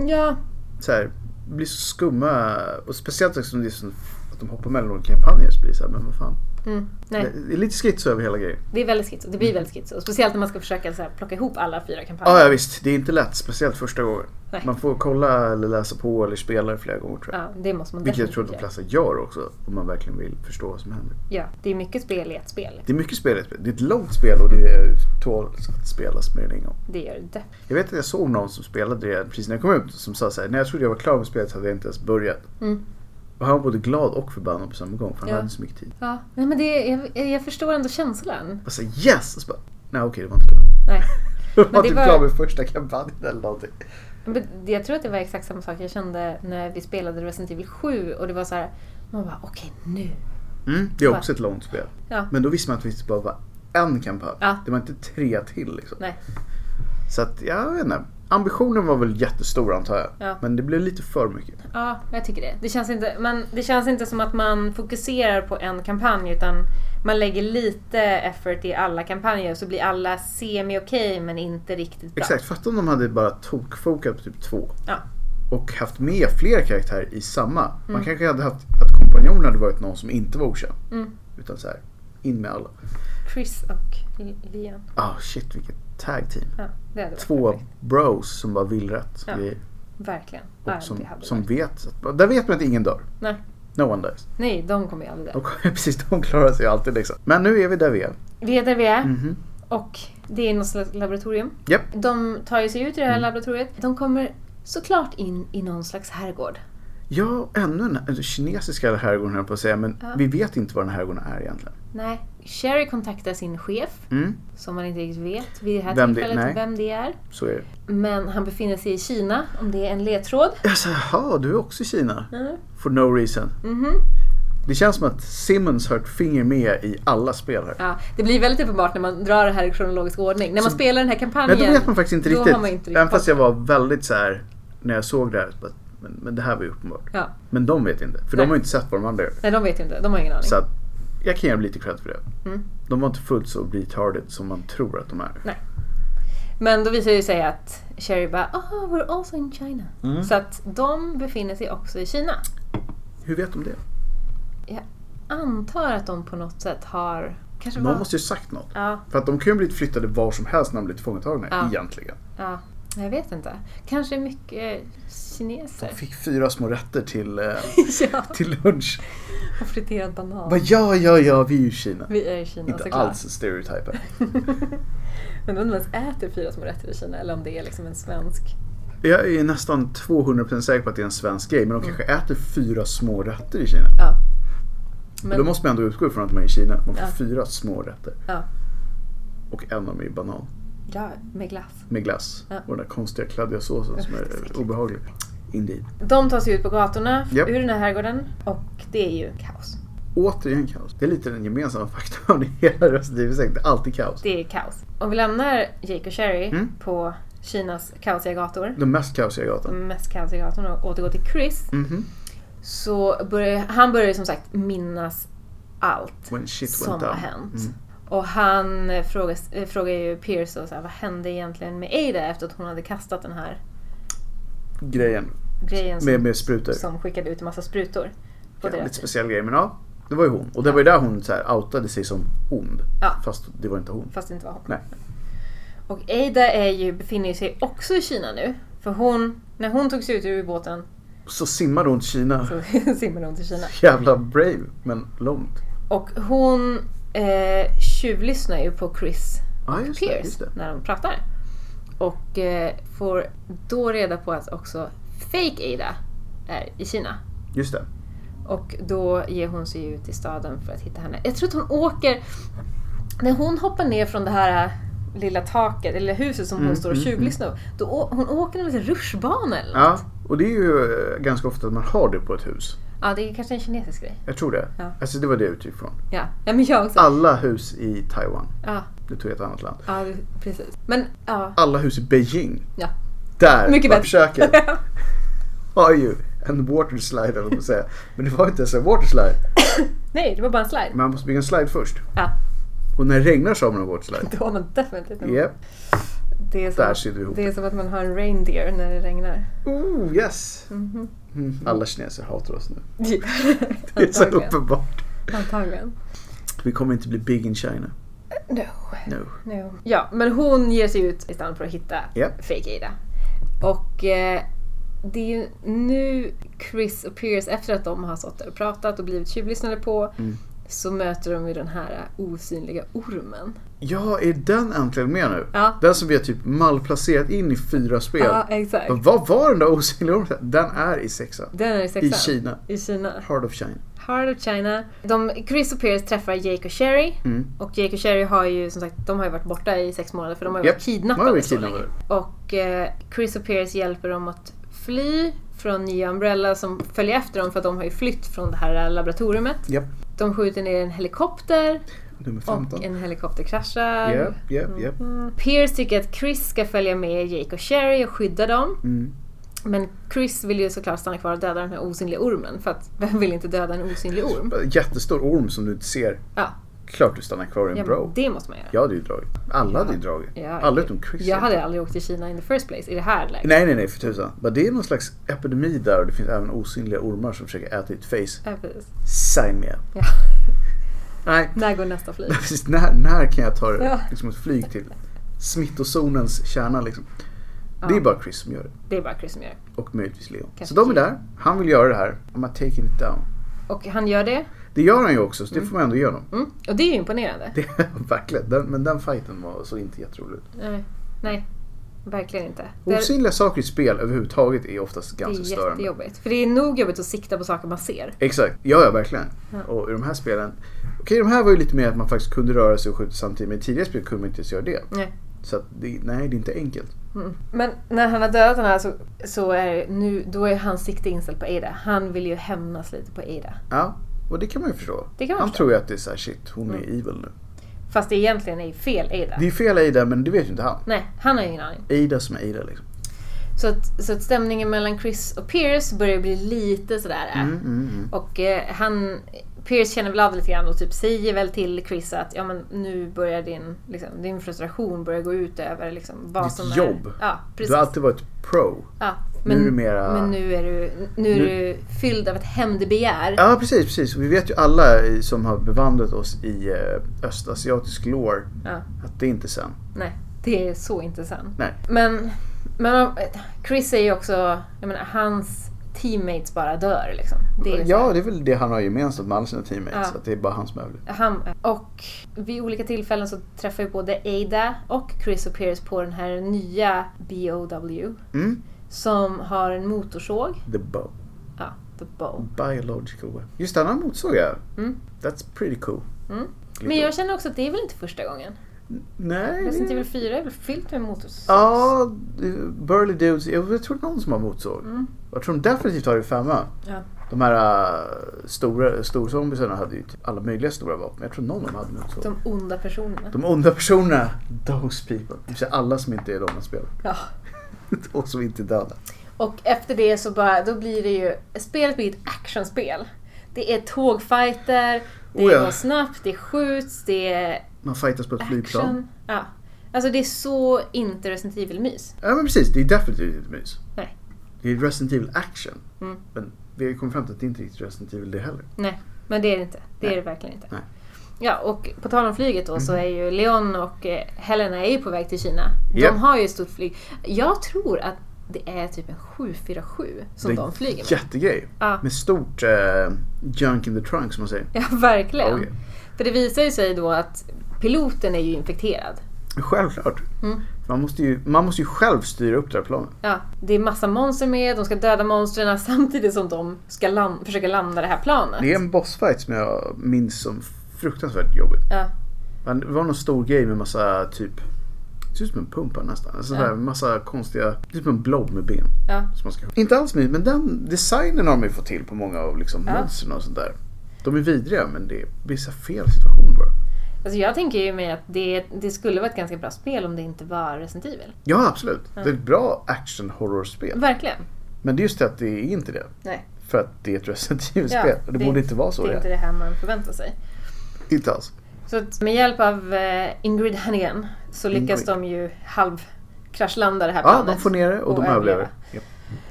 Speaker 3: Ja,
Speaker 1: Så här, det blir så skumma. Och speciellt eftersom det är så att de hoppar mellan olika kampanjer så blir det så här, men vad fan.
Speaker 3: mm, nej.
Speaker 1: Det är lite skits över hela grejen.
Speaker 3: Det är väldigt schizo. Det blir väldigt schizo. Speciellt när man ska försöka så här, plocka ihop alla fyra kampanjer.
Speaker 1: Ja, ja visst. Det är inte lätt. Speciellt första gången.
Speaker 3: Nej.
Speaker 1: Man får kolla eller läsa på eller spela det flera gånger tror jag.
Speaker 3: Ja, det måste man
Speaker 1: Vilket jag tror
Speaker 3: definitivt
Speaker 1: att de
Speaker 3: göra.
Speaker 1: flesta gör också. Om man verkligen vill förstå vad som händer.
Speaker 3: Ja, det är mycket spel i ett spel.
Speaker 1: Det är mycket spel. i ett spel. Det är ett långt spel och det är tåls att spelas mer än en gång.
Speaker 3: Det gör det.
Speaker 1: Jag vet att jag såg någon som spelade det precis när jag kom ut. Som sa så här, när jag trodde jag var klar med spelet så hade jag inte ens börjat.
Speaker 3: Mm.
Speaker 1: Och han var både glad och förbannad på samma gång för han
Speaker 3: Ja.
Speaker 1: hade så mycket tid.
Speaker 3: Ja, nej, men det, jag, jag förstår ändå känslan.
Speaker 1: Jag sa yes! Och så bara, nej okej det var inte klart.
Speaker 3: Nej.
Speaker 1: Jag var
Speaker 3: det
Speaker 1: typ
Speaker 3: var-
Speaker 1: klar med första kampanjen eller någonting.
Speaker 3: Men jag tror att det var exakt samma sak jag kände när vi spelade Resident Evil 7 och det var så här, man bara okej nu.
Speaker 1: Mm, det är också ett långt spel.
Speaker 3: Ja.
Speaker 1: Men då visste man att det bara var en kampanj.
Speaker 3: Ja.
Speaker 1: Det var inte tre till liksom.
Speaker 3: Nej.
Speaker 1: Så att jag vet inte. Ambitionen var väl jättestor antar jag.
Speaker 3: Ja.
Speaker 1: Men det blev lite för mycket.
Speaker 3: Ja, jag tycker det. Det känns, inte, man, det känns inte som att man fokuserar på en kampanj utan man lägger lite effort i alla kampanjer och så blir alla semi-okej men inte riktigt bra.
Speaker 1: Exakt, fatta om de hade bara tokfokat på typ två.
Speaker 3: Ja.
Speaker 1: Och haft med fler karaktärer i samma. Man kanske hade haft att kompanjonen hade varit någon som inte var okänd.
Speaker 3: Mm.
Speaker 1: Utan så här, in med alla.
Speaker 3: Chris och Lian.
Speaker 1: Ah shit vilket tag team.
Speaker 3: Ja, det hade varit
Speaker 1: Två
Speaker 3: perfekt.
Speaker 1: bros som bara vill rätt.
Speaker 3: Ja.
Speaker 1: grejer.
Speaker 3: Verkligen.
Speaker 1: Och
Speaker 3: Ja,
Speaker 1: som,
Speaker 3: det hade
Speaker 1: som
Speaker 3: varit.
Speaker 1: vet, att- där vet man att ingen dör.
Speaker 3: Nej.
Speaker 1: No one dies.
Speaker 3: Nej, de kommer ju aldrig där.
Speaker 1: De, precis, de klarar sig alltid liksom. Men nu är vi där vi är.
Speaker 3: Vi är där vi är
Speaker 1: Mhm.
Speaker 3: och det är något slags laboratorium.
Speaker 1: Japp. Mm.
Speaker 3: De tar ju sig ut ur det här laboratoriet. De kommer såklart in i någon slags herrgård.
Speaker 1: Ja, ännu en en kinesiska herrgården höll jag på att säga. Men
Speaker 3: Ja.
Speaker 1: vi vet inte vad den här herrgården är egentligen.
Speaker 3: Nej, Sherry kontaktar sin chef,
Speaker 1: Mm,
Speaker 3: som man inte riktigt vet vid det här
Speaker 1: Vem det-
Speaker 3: tillfället
Speaker 1: nej.
Speaker 3: vem det är.
Speaker 1: så är det.
Speaker 3: Men han befinner sig i Kina, om det är en ledtråd.
Speaker 1: Jag sa, Alltså, jaha, du är också i Kina?
Speaker 3: Mm.
Speaker 1: For no reason.
Speaker 3: Mhm.
Speaker 1: Det känns som att Simmons har ett finger med i alla spel här.
Speaker 3: Ja, det blir väldigt uppenbart när man drar det här i kronologisk ordning. När man
Speaker 1: Så-
Speaker 3: spelar den här kampanjen.
Speaker 1: Men då vet man faktiskt inte
Speaker 3: då
Speaker 1: riktigt.
Speaker 3: har man inte riktigt
Speaker 1: Även fast
Speaker 3: koll.
Speaker 1: jag var väldigt så här när jag såg det här. bara, Men, men det här var ju uppenbart.
Speaker 3: Ja.
Speaker 1: Men de vet inte. För
Speaker 3: Nej.
Speaker 1: de har ju inte sett vad de andra gör.
Speaker 3: Nej, de vet ju inte. De har ingen aning.
Speaker 1: Så att jag kan ge dem lite cred för det.
Speaker 3: Mm.
Speaker 1: De var inte fullt så retarded som man tror att de är.
Speaker 3: Men då visar det sig att Sherry bara oh, “We're also in China”.
Speaker 1: Mm.
Speaker 3: Så att de befinner sig också i Kina.
Speaker 1: Hur vet de det?
Speaker 3: Antar att de på något sätt har... Kanske var...
Speaker 1: Någon måste ju sagt något.
Speaker 3: Ja,
Speaker 1: För att de kan ju bli flyttade var som helst när de blir tillfångatagna
Speaker 3: Ja.
Speaker 1: egentligen.
Speaker 3: ja. Jag vet inte. Kanske mycket kineser.
Speaker 1: De fick fyra små rätter till, eh,
Speaker 3: ja,
Speaker 1: till lunch.
Speaker 3: och friterad banan.
Speaker 1: Bara, ja, ja, ja, vi är ju i Kina.
Speaker 3: Vi är i Kina
Speaker 1: Inte
Speaker 3: såklart.
Speaker 1: alls stereotypen.
Speaker 3: Men undrar om de ens äter fyra små rätter i Kina eller om det är liksom en svensk.
Speaker 1: Jag är nästan 200% säker på att det är en svensk grej, men de kanske äter fyra små rätter i Kina.
Speaker 3: Mm. Ja.
Speaker 1: Men... Då måste man ändå utgå ifrån att man är i Kina. Man får
Speaker 3: Ja.
Speaker 1: fyra små rätter.
Speaker 3: Ja.
Speaker 1: Och en av dem är ju banan
Speaker 3: ja, med glass.
Speaker 1: med glass.
Speaker 3: Ja.
Speaker 1: Och den där konstiga kladdiga såsen som är obehaglig. Indeed.
Speaker 3: De tar sig ut på gatorna
Speaker 1: Japp.
Speaker 3: ur den här herrgården och det är ju kaos.
Speaker 1: Återigen kaos. Det är lite den gemensamma faktorn i hela Resident Evil 6. Det är alltid kaos.
Speaker 3: Det är kaos. Om vi lämnar Jake och Sherry
Speaker 1: Mm.
Speaker 3: på Kinas kaosiga gator,
Speaker 1: De mest kaosiga gatan.
Speaker 3: de mest kaosiga gatorna och återgår till Chris,
Speaker 1: Mhm.
Speaker 3: så börjar han börjar ju som sagt minnas allt
Speaker 1: When shit
Speaker 3: som
Speaker 1: went
Speaker 3: har
Speaker 1: down.
Speaker 3: hänt.
Speaker 1: Mm.
Speaker 3: Och han eh, frågar, eh, frågar ju Pierce och så här, vad hände egentligen med Ada efter att hon hade kastat den här
Speaker 1: Grejen
Speaker 3: grejen som,
Speaker 1: med, med sprutor.
Speaker 3: som skickade ut en massa sprutor. På
Speaker 1: Jävligt
Speaker 3: deras
Speaker 1: speciell grej. Men ja, det var ju hon. Och det var ju där hon så här outade sig som ond.
Speaker 3: Ja.
Speaker 1: Fast det var inte hon.
Speaker 3: Fast det inte var hon.
Speaker 1: Nej.
Speaker 3: Och Ada är ju, befinner ju sig också i Kina nu. För hon, när hon tog sig ut ur ubåten
Speaker 1: Så simmade hon till Kina.
Speaker 3: så simmade hon till Kina.
Speaker 1: Jävla brave, men långt.
Speaker 3: Och hon eh, tjuvlyssnar ju på Chris
Speaker 1: Ja, just det. Just
Speaker 3: Pierce
Speaker 1: det.
Speaker 3: när de pratar. Och eh, får då reda på att också fake Ada är i Kina.
Speaker 1: Just det.
Speaker 3: Och då ger hon sig ut i staden för att hitta henne. Jag tror att hon åker... När hon hoppar ner från det här eh, lilla taket, eller huset som hon
Speaker 1: Mm,
Speaker 3: står och
Speaker 1: mm,
Speaker 3: tjuvlyssnar på. Då å- hon åker en liten rutschbana eller
Speaker 1: Ja,
Speaker 3: något.
Speaker 1: och det är ju eh, ganska ofta att man har det på ett hus.
Speaker 3: Ja, det är kanske en kinesisk grej.
Speaker 1: Jag tror det.
Speaker 3: Ja.
Speaker 1: Alltså det var det jag utgick från.
Speaker 3: Ja, ja men jag också.
Speaker 1: Alla hus i Taiwan.
Speaker 3: Ja,
Speaker 1: Du tog ett annat land.
Speaker 3: ja det- precis. Men ja,
Speaker 1: Alla hus i Beijing.
Speaker 3: Ja.
Speaker 1: Där
Speaker 3: mycket
Speaker 1: var
Speaker 3: bättre.
Speaker 1: försöken. Har ju en waterslide eller vad man säger. Men det var inte ens en waterslide.
Speaker 3: Nej, det var bara en slide.
Speaker 1: Man måste bygga en slide först.
Speaker 3: Ja.
Speaker 1: Och när det regnar så har man en waterslide.
Speaker 3: Då har man definitivt en-
Speaker 1: Yep.
Speaker 3: det, är som
Speaker 1: Där
Speaker 3: att,
Speaker 1: sitter vi ihop.
Speaker 3: det är som att man har en reindeer när det regnar.
Speaker 1: Ooh, yes!
Speaker 3: Mhm.
Speaker 1: Mm, Alla kineser hatar oss nu. Det är så
Speaker 3: Antagligen.
Speaker 1: uppenbart.
Speaker 3: Antagligen.
Speaker 1: Vi kommer inte bli big in China.
Speaker 3: No.
Speaker 1: No.
Speaker 3: no. Ja, men hon ger sig ut i stan för att hitta
Speaker 1: Japp.
Speaker 3: fake Ada. Och eh, det är ju nu Chris och Pierce, efter att de har stått där och pratat och blivit tjuvlyssnade på,
Speaker 1: Mm.
Speaker 3: så möter de ju den här osynliga ormen.
Speaker 1: Ja, är den äntligen med nu?
Speaker 3: Ja.
Speaker 1: Den som vi har typ malplacerat in i fyra spel.
Speaker 3: Ja, exakt.
Speaker 1: Men Vad var den där osynliga ormen? Den är i sexan.
Speaker 3: Den är i sexan.
Speaker 1: I Kina.
Speaker 3: I Kina.
Speaker 1: Heart of China.
Speaker 3: Heart of China. De, Chris och Pierce träffar Jake och Sherry.
Speaker 1: Mm.
Speaker 3: Och Jake och Sherry har ju som sagt de har ju varit borta i sex månader för de har ju
Speaker 1: Japp.
Speaker 3: varit
Speaker 1: Ja,
Speaker 3: kidnappade,
Speaker 1: vi
Speaker 3: så
Speaker 1: kidnappade.
Speaker 3: länge. Och eh, Chris och Pierce hjälper dem att fly från nya Umbrella som följer efter dem för att de har ju flytt från det här laboratoriet.
Speaker 1: Japp.
Speaker 3: De skjuter ner en helikopter
Speaker 1: Nummer
Speaker 3: och
Speaker 1: 15.
Speaker 3: en helikopter kraschar.
Speaker 1: Japp, japp, japp.
Speaker 3: Mm. Pierce tycker att Chris ska följa med Jake och Sherry och skydda dem.
Speaker 1: Mm.
Speaker 3: Men Chris vill ju såklart stanna kvar och döda den här osynliga ormen för att vem vill inte döda en osynlig orm?
Speaker 1: Jättestor orm som du inte ser.
Speaker 3: Ja,
Speaker 1: Klart du stannar kvar i
Speaker 3: ja
Speaker 1: en
Speaker 3: men
Speaker 1: bro.
Speaker 3: det måste man göra.
Speaker 1: Jag hade ju dragit. Alla hade ju dragit.
Speaker 3: Ja,
Speaker 1: Alla utom Chris.
Speaker 3: Jag hade aldrig åkt till Kina in the first place i det här läget.
Speaker 1: Nej, nej, nej för tusan. Men det är någon slags epidemi där och det finns även osynliga ormar som försöker äta ditt face.
Speaker 3: Ja, precis.
Speaker 1: Sign me up.
Speaker 3: Ja.
Speaker 1: Nej,
Speaker 3: När går nästa flyg?
Speaker 1: precis. När, när kan jag ta
Speaker 3: Ja.
Speaker 1: det, liksom ett flyg till smittozonens kärna liksom?
Speaker 3: Ja.
Speaker 1: Det är bara Chris som gör det.
Speaker 3: Det är bara Chris som gör det.
Speaker 1: Och möjligtvis Leon.
Speaker 3: Kanske
Speaker 1: Så de är
Speaker 3: Leon.
Speaker 1: där. Han vill göra det här. I'm not taking it down.
Speaker 3: Och han gör det.
Speaker 1: Det gör han ju också, så det får man ändå igenom.
Speaker 3: Mm. Och det är ju imponerande.
Speaker 1: Det verkligen. Den, men den fighten var så inte jätterolig ut.
Speaker 3: Nej, Nej verkligen inte. Det är,
Speaker 1: Osynliga saker i spel överhuvudtaget är oftast
Speaker 3: det
Speaker 1: ganska
Speaker 3: är
Speaker 1: alltså störande.
Speaker 3: jättejobbigt. För det är nog jobbigt att sikta på saker man ser.
Speaker 1: Exakt, ja, ja verkligen.
Speaker 3: Ja.
Speaker 1: Och i de här spelen, okej de här var ju lite mer att man faktiskt kunde röra sig och skjuta samtidigt men i tidigare spel kunde man inte ens göra det.
Speaker 3: Nej.
Speaker 1: Så att det, nej det är inte enkelt.
Speaker 3: Men när han har dödat den här så, så är det nu, då är hans sikte inställt på Ada. Han vill ju hämnas lite på Ada.
Speaker 1: Ja, och det kan man ju förstå.
Speaker 3: Det kan man
Speaker 1: Han
Speaker 3: förstå.
Speaker 1: tror ju att det är såhär shit, hon är evil nu.
Speaker 3: Fast det egentligen är ju fel Ada.
Speaker 1: Det är fel Ada men det vet ju inte han.
Speaker 3: Nej, han har ju ingen aning.
Speaker 1: Ada som är Ada liksom.
Speaker 3: Så att, så att stämningen mellan Chris och Pierce börjar bli lite sådär. äh.
Speaker 1: Mm, mm, mm.
Speaker 3: Och eh, han, Pierce känner väl av lite grann och typ säger väl till Chris att ja, men nu börjar din, liksom, din frustration börja gå ut över liksom, vad
Speaker 1: Ditt
Speaker 3: som
Speaker 1: jobb.
Speaker 3: är... Ja,
Speaker 1: Du
Speaker 3: precis.
Speaker 1: har alltid varit pro.
Speaker 3: ja,
Speaker 1: nu är du mera-
Speaker 3: men nu är du, nu är
Speaker 1: Nu-
Speaker 3: du fylld av ett hämndbegär.
Speaker 1: Ja precis, precis. Vi vet ju alla i- som har bevandrat oss i eh, östasiatisk lore
Speaker 3: Ja,
Speaker 1: att det är inte sen.
Speaker 3: nej, det är så inte sant.
Speaker 1: Nej.
Speaker 3: Men, men eh, Chris är ju också... Jag menar, hans teammates bara dör liksom. Det är så här-
Speaker 1: ja, det är väl det han har gemensamt med alla sina teammates.
Speaker 3: Ja.
Speaker 1: Att det är bara han som överlever.
Speaker 3: Han, och vid olika tillfällen så träffar ju både Ada och Chris och Pierce på den här nya BOW
Speaker 1: Mm.
Speaker 3: som har en motorsåg.
Speaker 1: The bow.
Speaker 3: Ja, the bow.
Speaker 1: Biological weapon. Just det, han motsåg jag.
Speaker 3: Mm.
Speaker 1: That's pretty cool.
Speaker 3: Mm.
Speaker 1: Lite-
Speaker 3: Men jag känner också att det är väl inte första gången?
Speaker 1: Nej.
Speaker 3: Resident Evil 4 är väl fyllt med motorsågs?
Speaker 1: Ja, eh, Burly Dudes. Jag jag tror någon som har motsåg.
Speaker 3: Mm.
Speaker 1: Jag tror de definitivt har det i femma.
Speaker 3: Ja.
Speaker 1: De här äh, stora storzombisarna hade ju typ alla möjliga stora vapen. Jag tror någon av dem hade motsåg. De,
Speaker 3: De onda personerna.
Speaker 1: onda personerna, those people. Det vill säga alla som inte är de man spelar.
Speaker 3: Ja.
Speaker 1: Och som inte är döda.
Speaker 3: Och efter det så bara, då blir det ju, spelet blir ett actionspel. Det är tågfighter, det
Speaker 1: Oh ja.
Speaker 3: går snabbt, det skjuts, det är
Speaker 1: Man fightas på ett flygplan.
Speaker 3: action. Ja. Alltså det är så inte Resident Evil-mys.
Speaker 1: Ja men precis, det är definitivt inte mys.
Speaker 3: Nej.
Speaker 1: Det är Resident Evil action.
Speaker 3: Mm.
Speaker 1: Men vi har ju kommit fram till att det inte är riktigt Resident Evil det heller.
Speaker 3: Nej, men det är det inte. Det
Speaker 1: Nej.
Speaker 3: är det verkligen inte.
Speaker 1: Nej. Mm.
Speaker 3: Ja, och på tal om flyget då så är ju Leon och eh, Helena är ju på väg till Kina.
Speaker 1: Japp.
Speaker 3: De har ju ett stort flyg. Jag tror att det är typ en 747 som
Speaker 1: Det är
Speaker 3: de flyger med.
Speaker 1: Jättegrej.
Speaker 3: Ja.
Speaker 1: Med stort eh, junk in the trunk som man säger.
Speaker 3: Ja, verkligen.
Speaker 1: Oj.
Speaker 3: För det visar ju sig då att piloten är ju infekterad.
Speaker 1: Självklart.
Speaker 3: Mm.
Speaker 1: Man, måste ju, man måste ju själv styra upp det här planet.
Speaker 3: Ja, det är massa monster med, de ska döda monstren samtidigt som de ska lan- försöka landa det här planet.
Speaker 1: Det är en bossfight som jag minns som fruktansvärt jobbig.
Speaker 3: Ja,
Speaker 1: Men Det var någon stor grej med massa typ... Det ser ut som en pumpa nästan. Alltså,
Speaker 3: Ja.
Speaker 1: ja. Massa konstiga... Det ser ut som en blob med ben.
Speaker 3: ja.
Speaker 1: Som man ska... Inte alls mysigt, men den designen har de ju fått till på många av liksom,
Speaker 3: Ja.
Speaker 1: monstren och sånt där. De är vidriga men det är vissa fel situationer bara.
Speaker 3: Alltså jag tänker ju mig att det, det skulle vara ett ganska bra spel om det inte var Resident Evil.
Speaker 1: Ja, absolut. Det är ett bra action-horror-spel.
Speaker 3: Verkligen.
Speaker 1: Men det är just det att det är inte det.
Speaker 3: Nej.
Speaker 1: För att det är ett Resident
Speaker 3: Ja,
Speaker 1: Evil-spel. och det, borde inte vara så.
Speaker 3: Det är inte det här man förväntar sig.
Speaker 1: inte alls.
Speaker 3: Så att med hjälp av eh, Ingrid Hannigan så lyckas
Speaker 1: Ingrid.
Speaker 3: de ju halvkraschlanda det här
Speaker 1: Ja,
Speaker 3: planet.
Speaker 1: de får ner det och,
Speaker 3: och
Speaker 1: de överlever.
Speaker 3: överleva.
Speaker 1: Ja.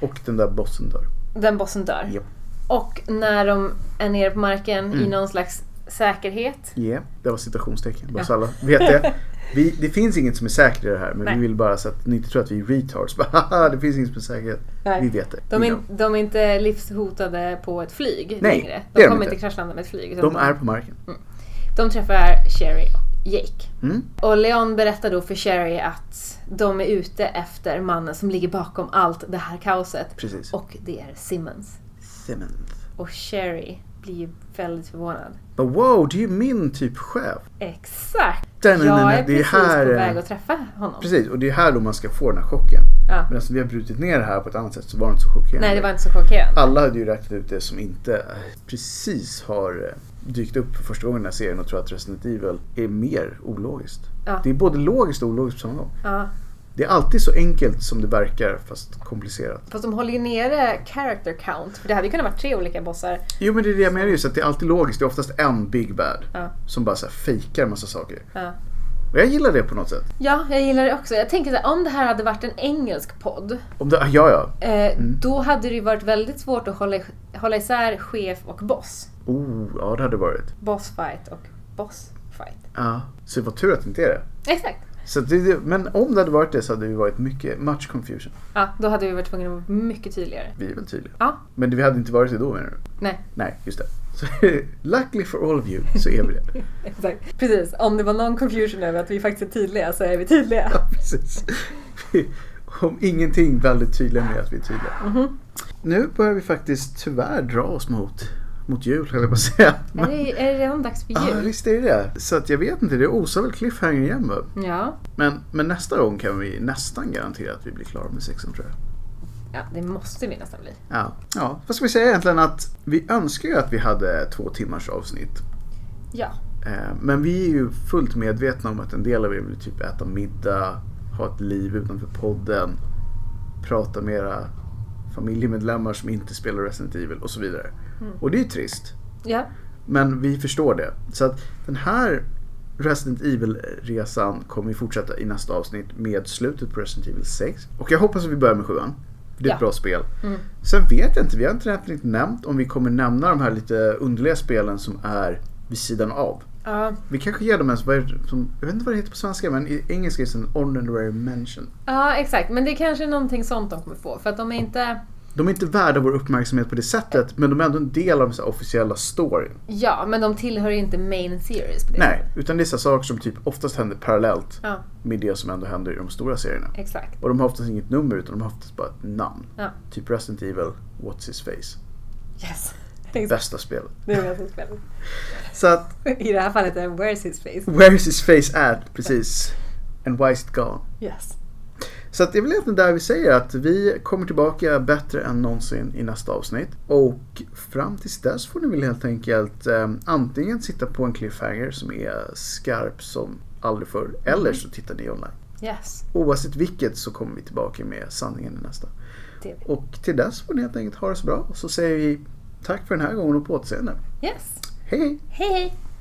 Speaker 1: Och den där bossen dör.
Speaker 3: Den bossen dör.
Speaker 1: Ja.
Speaker 3: Och när de är nere på marken i
Speaker 1: Mm.
Speaker 3: någon slags säkerhet.
Speaker 1: Ja, det var citationstecken. Bara
Speaker 3: Ja.
Speaker 1: så alla vet det. Vi, det finns inget som är säkert i det här men
Speaker 3: Nej.
Speaker 1: vi vill bara så att ni inte tror att vi är retards. Bara, Haha, det finns inget som är säkert. Vi vet det.
Speaker 3: De,
Speaker 1: Vi
Speaker 3: är,
Speaker 1: know.
Speaker 3: de är inte livshotade på ett flyg
Speaker 1: Nej,
Speaker 3: längre.
Speaker 1: det
Speaker 3: De
Speaker 1: är de
Speaker 3: kommer
Speaker 1: inte.
Speaker 3: inte kraschlanda med ett flyg. utan
Speaker 1: de är på marken.
Speaker 3: de träffar Sherry och Jake.
Speaker 1: Mm.
Speaker 3: Och Leon berättar då för Sherry att de är ute efter mannen som ligger bakom allt det här kaoset.
Speaker 1: Precis.
Speaker 3: Och det är Simmons.
Speaker 1: Simmons.
Speaker 3: Och Sherry blir ju väldigt förvånad.
Speaker 1: Bara, wow, det är ju min typ chef.
Speaker 3: Exakt!
Speaker 1: Den, den, den,
Speaker 3: Jag är
Speaker 1: det är
Speaker 3: precis
Speaker 1: här,
Speaker 3: på
Speaker 1: eh,
Speaker 3: väg att träffa honom.
Speaker 1: Precis, och det är här då man ska få den här chocken.
Speaker 3: Ja.
Speaker 1: Men eftersom vi har brutit ner det här på ett annat sätt så var det inte så chockerande.
Speaker 3: Nej, det var inte så chockerande.
Speaker 1: Alla hade ju räknat ut det som inte eh, precis har eh, dykt upp för första gången i den här serien och tror att Resident Evil är mer ologiskt.
Speaker 3: Ja.
Speaker 1: Det är både logiskt och ologiskt på samma gång.
Speaker 3: Ja.
Speaker 1: Det är alltid så enkelt som det verkar fast komplicerat.
Speaker 3: Fast de håller ju nere character count. För det hade ju kunnat vara tre olika bossar.
Speaker 1: Jo men det är det jag menar just att det är alltid logiskt. Det är oftast en big bad
Speaker 3: Ja.
Speaker 1: som bara så här fejkar en massa saker.
Speaker 3: Ja.
Speaker 1: Och jag gillar det på något sätt.
Speaker 3: ja, jag gillar det också. Jag tänker så här, om det här hade varit en engelsk podd.
Speaker 1: Om det, ah, ja ja.
Speaker 3: Eh,
Speaker 1: Mm.
Speaker 3: Då hade det ju varit väldigt svårt att hålla, hålla isär chef och boss.
Speaker 1: Oh, ja det hade det varit.
Speaker 3: Bossfight och bossfight.
Speaker 1: Ja. Så det var tur att det inte är det.
Speaker 3: Exakt.
Speaker 1: Så att det- det, men om det hade varit det så hade det ju varit mycket match confusion.
Speaker 3: Ja, då hade vi varit tvungna att vara mycket tydligare.
Speaker 1: Vi är väl tydliga.
Speaker 3: Ja,
Speaker 1: Men vi hade inte varit det då menar du?
Speaker 3: nej,
Speaker 1: Nej, just det. Så, luckily for all of you så är vi det.
Speaker 3: exakt. Precis, om det var någon confusion över att vi faktiskt är tydliga så är vi tydliga.
Speaker 1: Ja, precis. Vi- Om ingenting väldigt tydliga med att vi är tydliga.
Speaker 3: Mm-hmm.
Speaker 1: Nu börjar vi faktiskt tyvärr dra oss mot, mot jul höll jag på att säga.
Speaker 3: Är det, är det redan dags för
Speaker 1: Ja,
Speaker 3: jul?
Speaker 1: visst är det det. Så att jag vet inte, det osar väl cliffhanger igen va?
Speaker 3: Ja.
Speaker 1: Men, men nästa gång kan vi nästan garantera att vi blir klara med sexan tror jag.
Speaker 3: ja, det måste vi nästan bli.
Speaker 1: Ja. ja, vad ska vi säga egentligen att vi önskar ju att vi hade två timmars avsnitt.
Speaker 3: Ja,
Speaker 1: Eh, Men vi är ju fullt medvetna om att en del av er vill typ äta middag, ha ett liv utanför podden, prata med era familjemedlemmar som inte spelar Resident Evil och så vidare. Och det är ju trist.
Speaker 3: ja,
Speaker 1: Men vi förstår det. Så att den här Resident Evil-resan kommer vi fortsätta i nästa avsnitt med slutet på Resident Evil 6. Och jag hoppas att vi börjar med 7 Det är ett
Speaker 3: Ja.
Speaker 1: bra spel.
Speaker 3: Mm.
Speaker 1: Sen vet jag inte, vi har inte riktigt nämnt om vi kommer nämna de här lite underliga spelen som är vid sidan av.
Speaker 3: ja.
Speaker 1: Vi kanske ger dem en, vad är det som, jag vet inte vad det heter på svenska men i engelska är det en honorary mention.
Speaker 3: Ja, exakt. Men det är kanske är någonting sånt de kommer få. För att de är inte...
Speaker 1: De är inte värda vår uppmärksamhet på det sättet men de är ändå en del av den så här officiella storyn.
Speaker 3: Ja, men de tillhör inte main series på det
Speaker 1: Nej,
Speaker 3: sättet.
Speaker 1: utan det är så här saker som typ oftast händer parallellt
Speaker 3: Ja,
Speaker 1: med det som ändå händer i de stora serierna.
Speaker 3: exakt.
Speaker 1: Och de har oftast inget nummer utan de har oftast bara ett namn.
Speaker 3: Ja.
Speaker 1: Typ Resident Evil, What's His Face.
Speaker 3: Yes. Exakt.
Speaker 1: Bästa spelet.
Speaker 3: Det var så spännande.
Speaker 1: Så att,
Speaker 3: I det här fallet är Where's his face?
Speaker 1: Where is his face at? Precis. And why is it gone?
Speaker 3: Yes.
Speaker 1: Så att det är väl egentligen där vi säger att vi kommer tillbaka bättre än någonsin i nästa avsnitt. Och fram tills dess får ni väl helt enkelt eh, antingen sitta på en cliffhanger som är skarp som aldrig förr. Eller så tittar ni online.
Speaker 3: Yes.
Speaker 1: Oavsett vilket så kommer vi tillbaka med sanningen i nästa.
Speaker 3: Det.
Speaker 1: Och till dess får ni helt enkelt ha det så bra. Och så säger vi tack för den här gången och på återseende.
Speaker 3: Yes.
Speaker 1: Hej hej!
Speaker 3: Hej hej!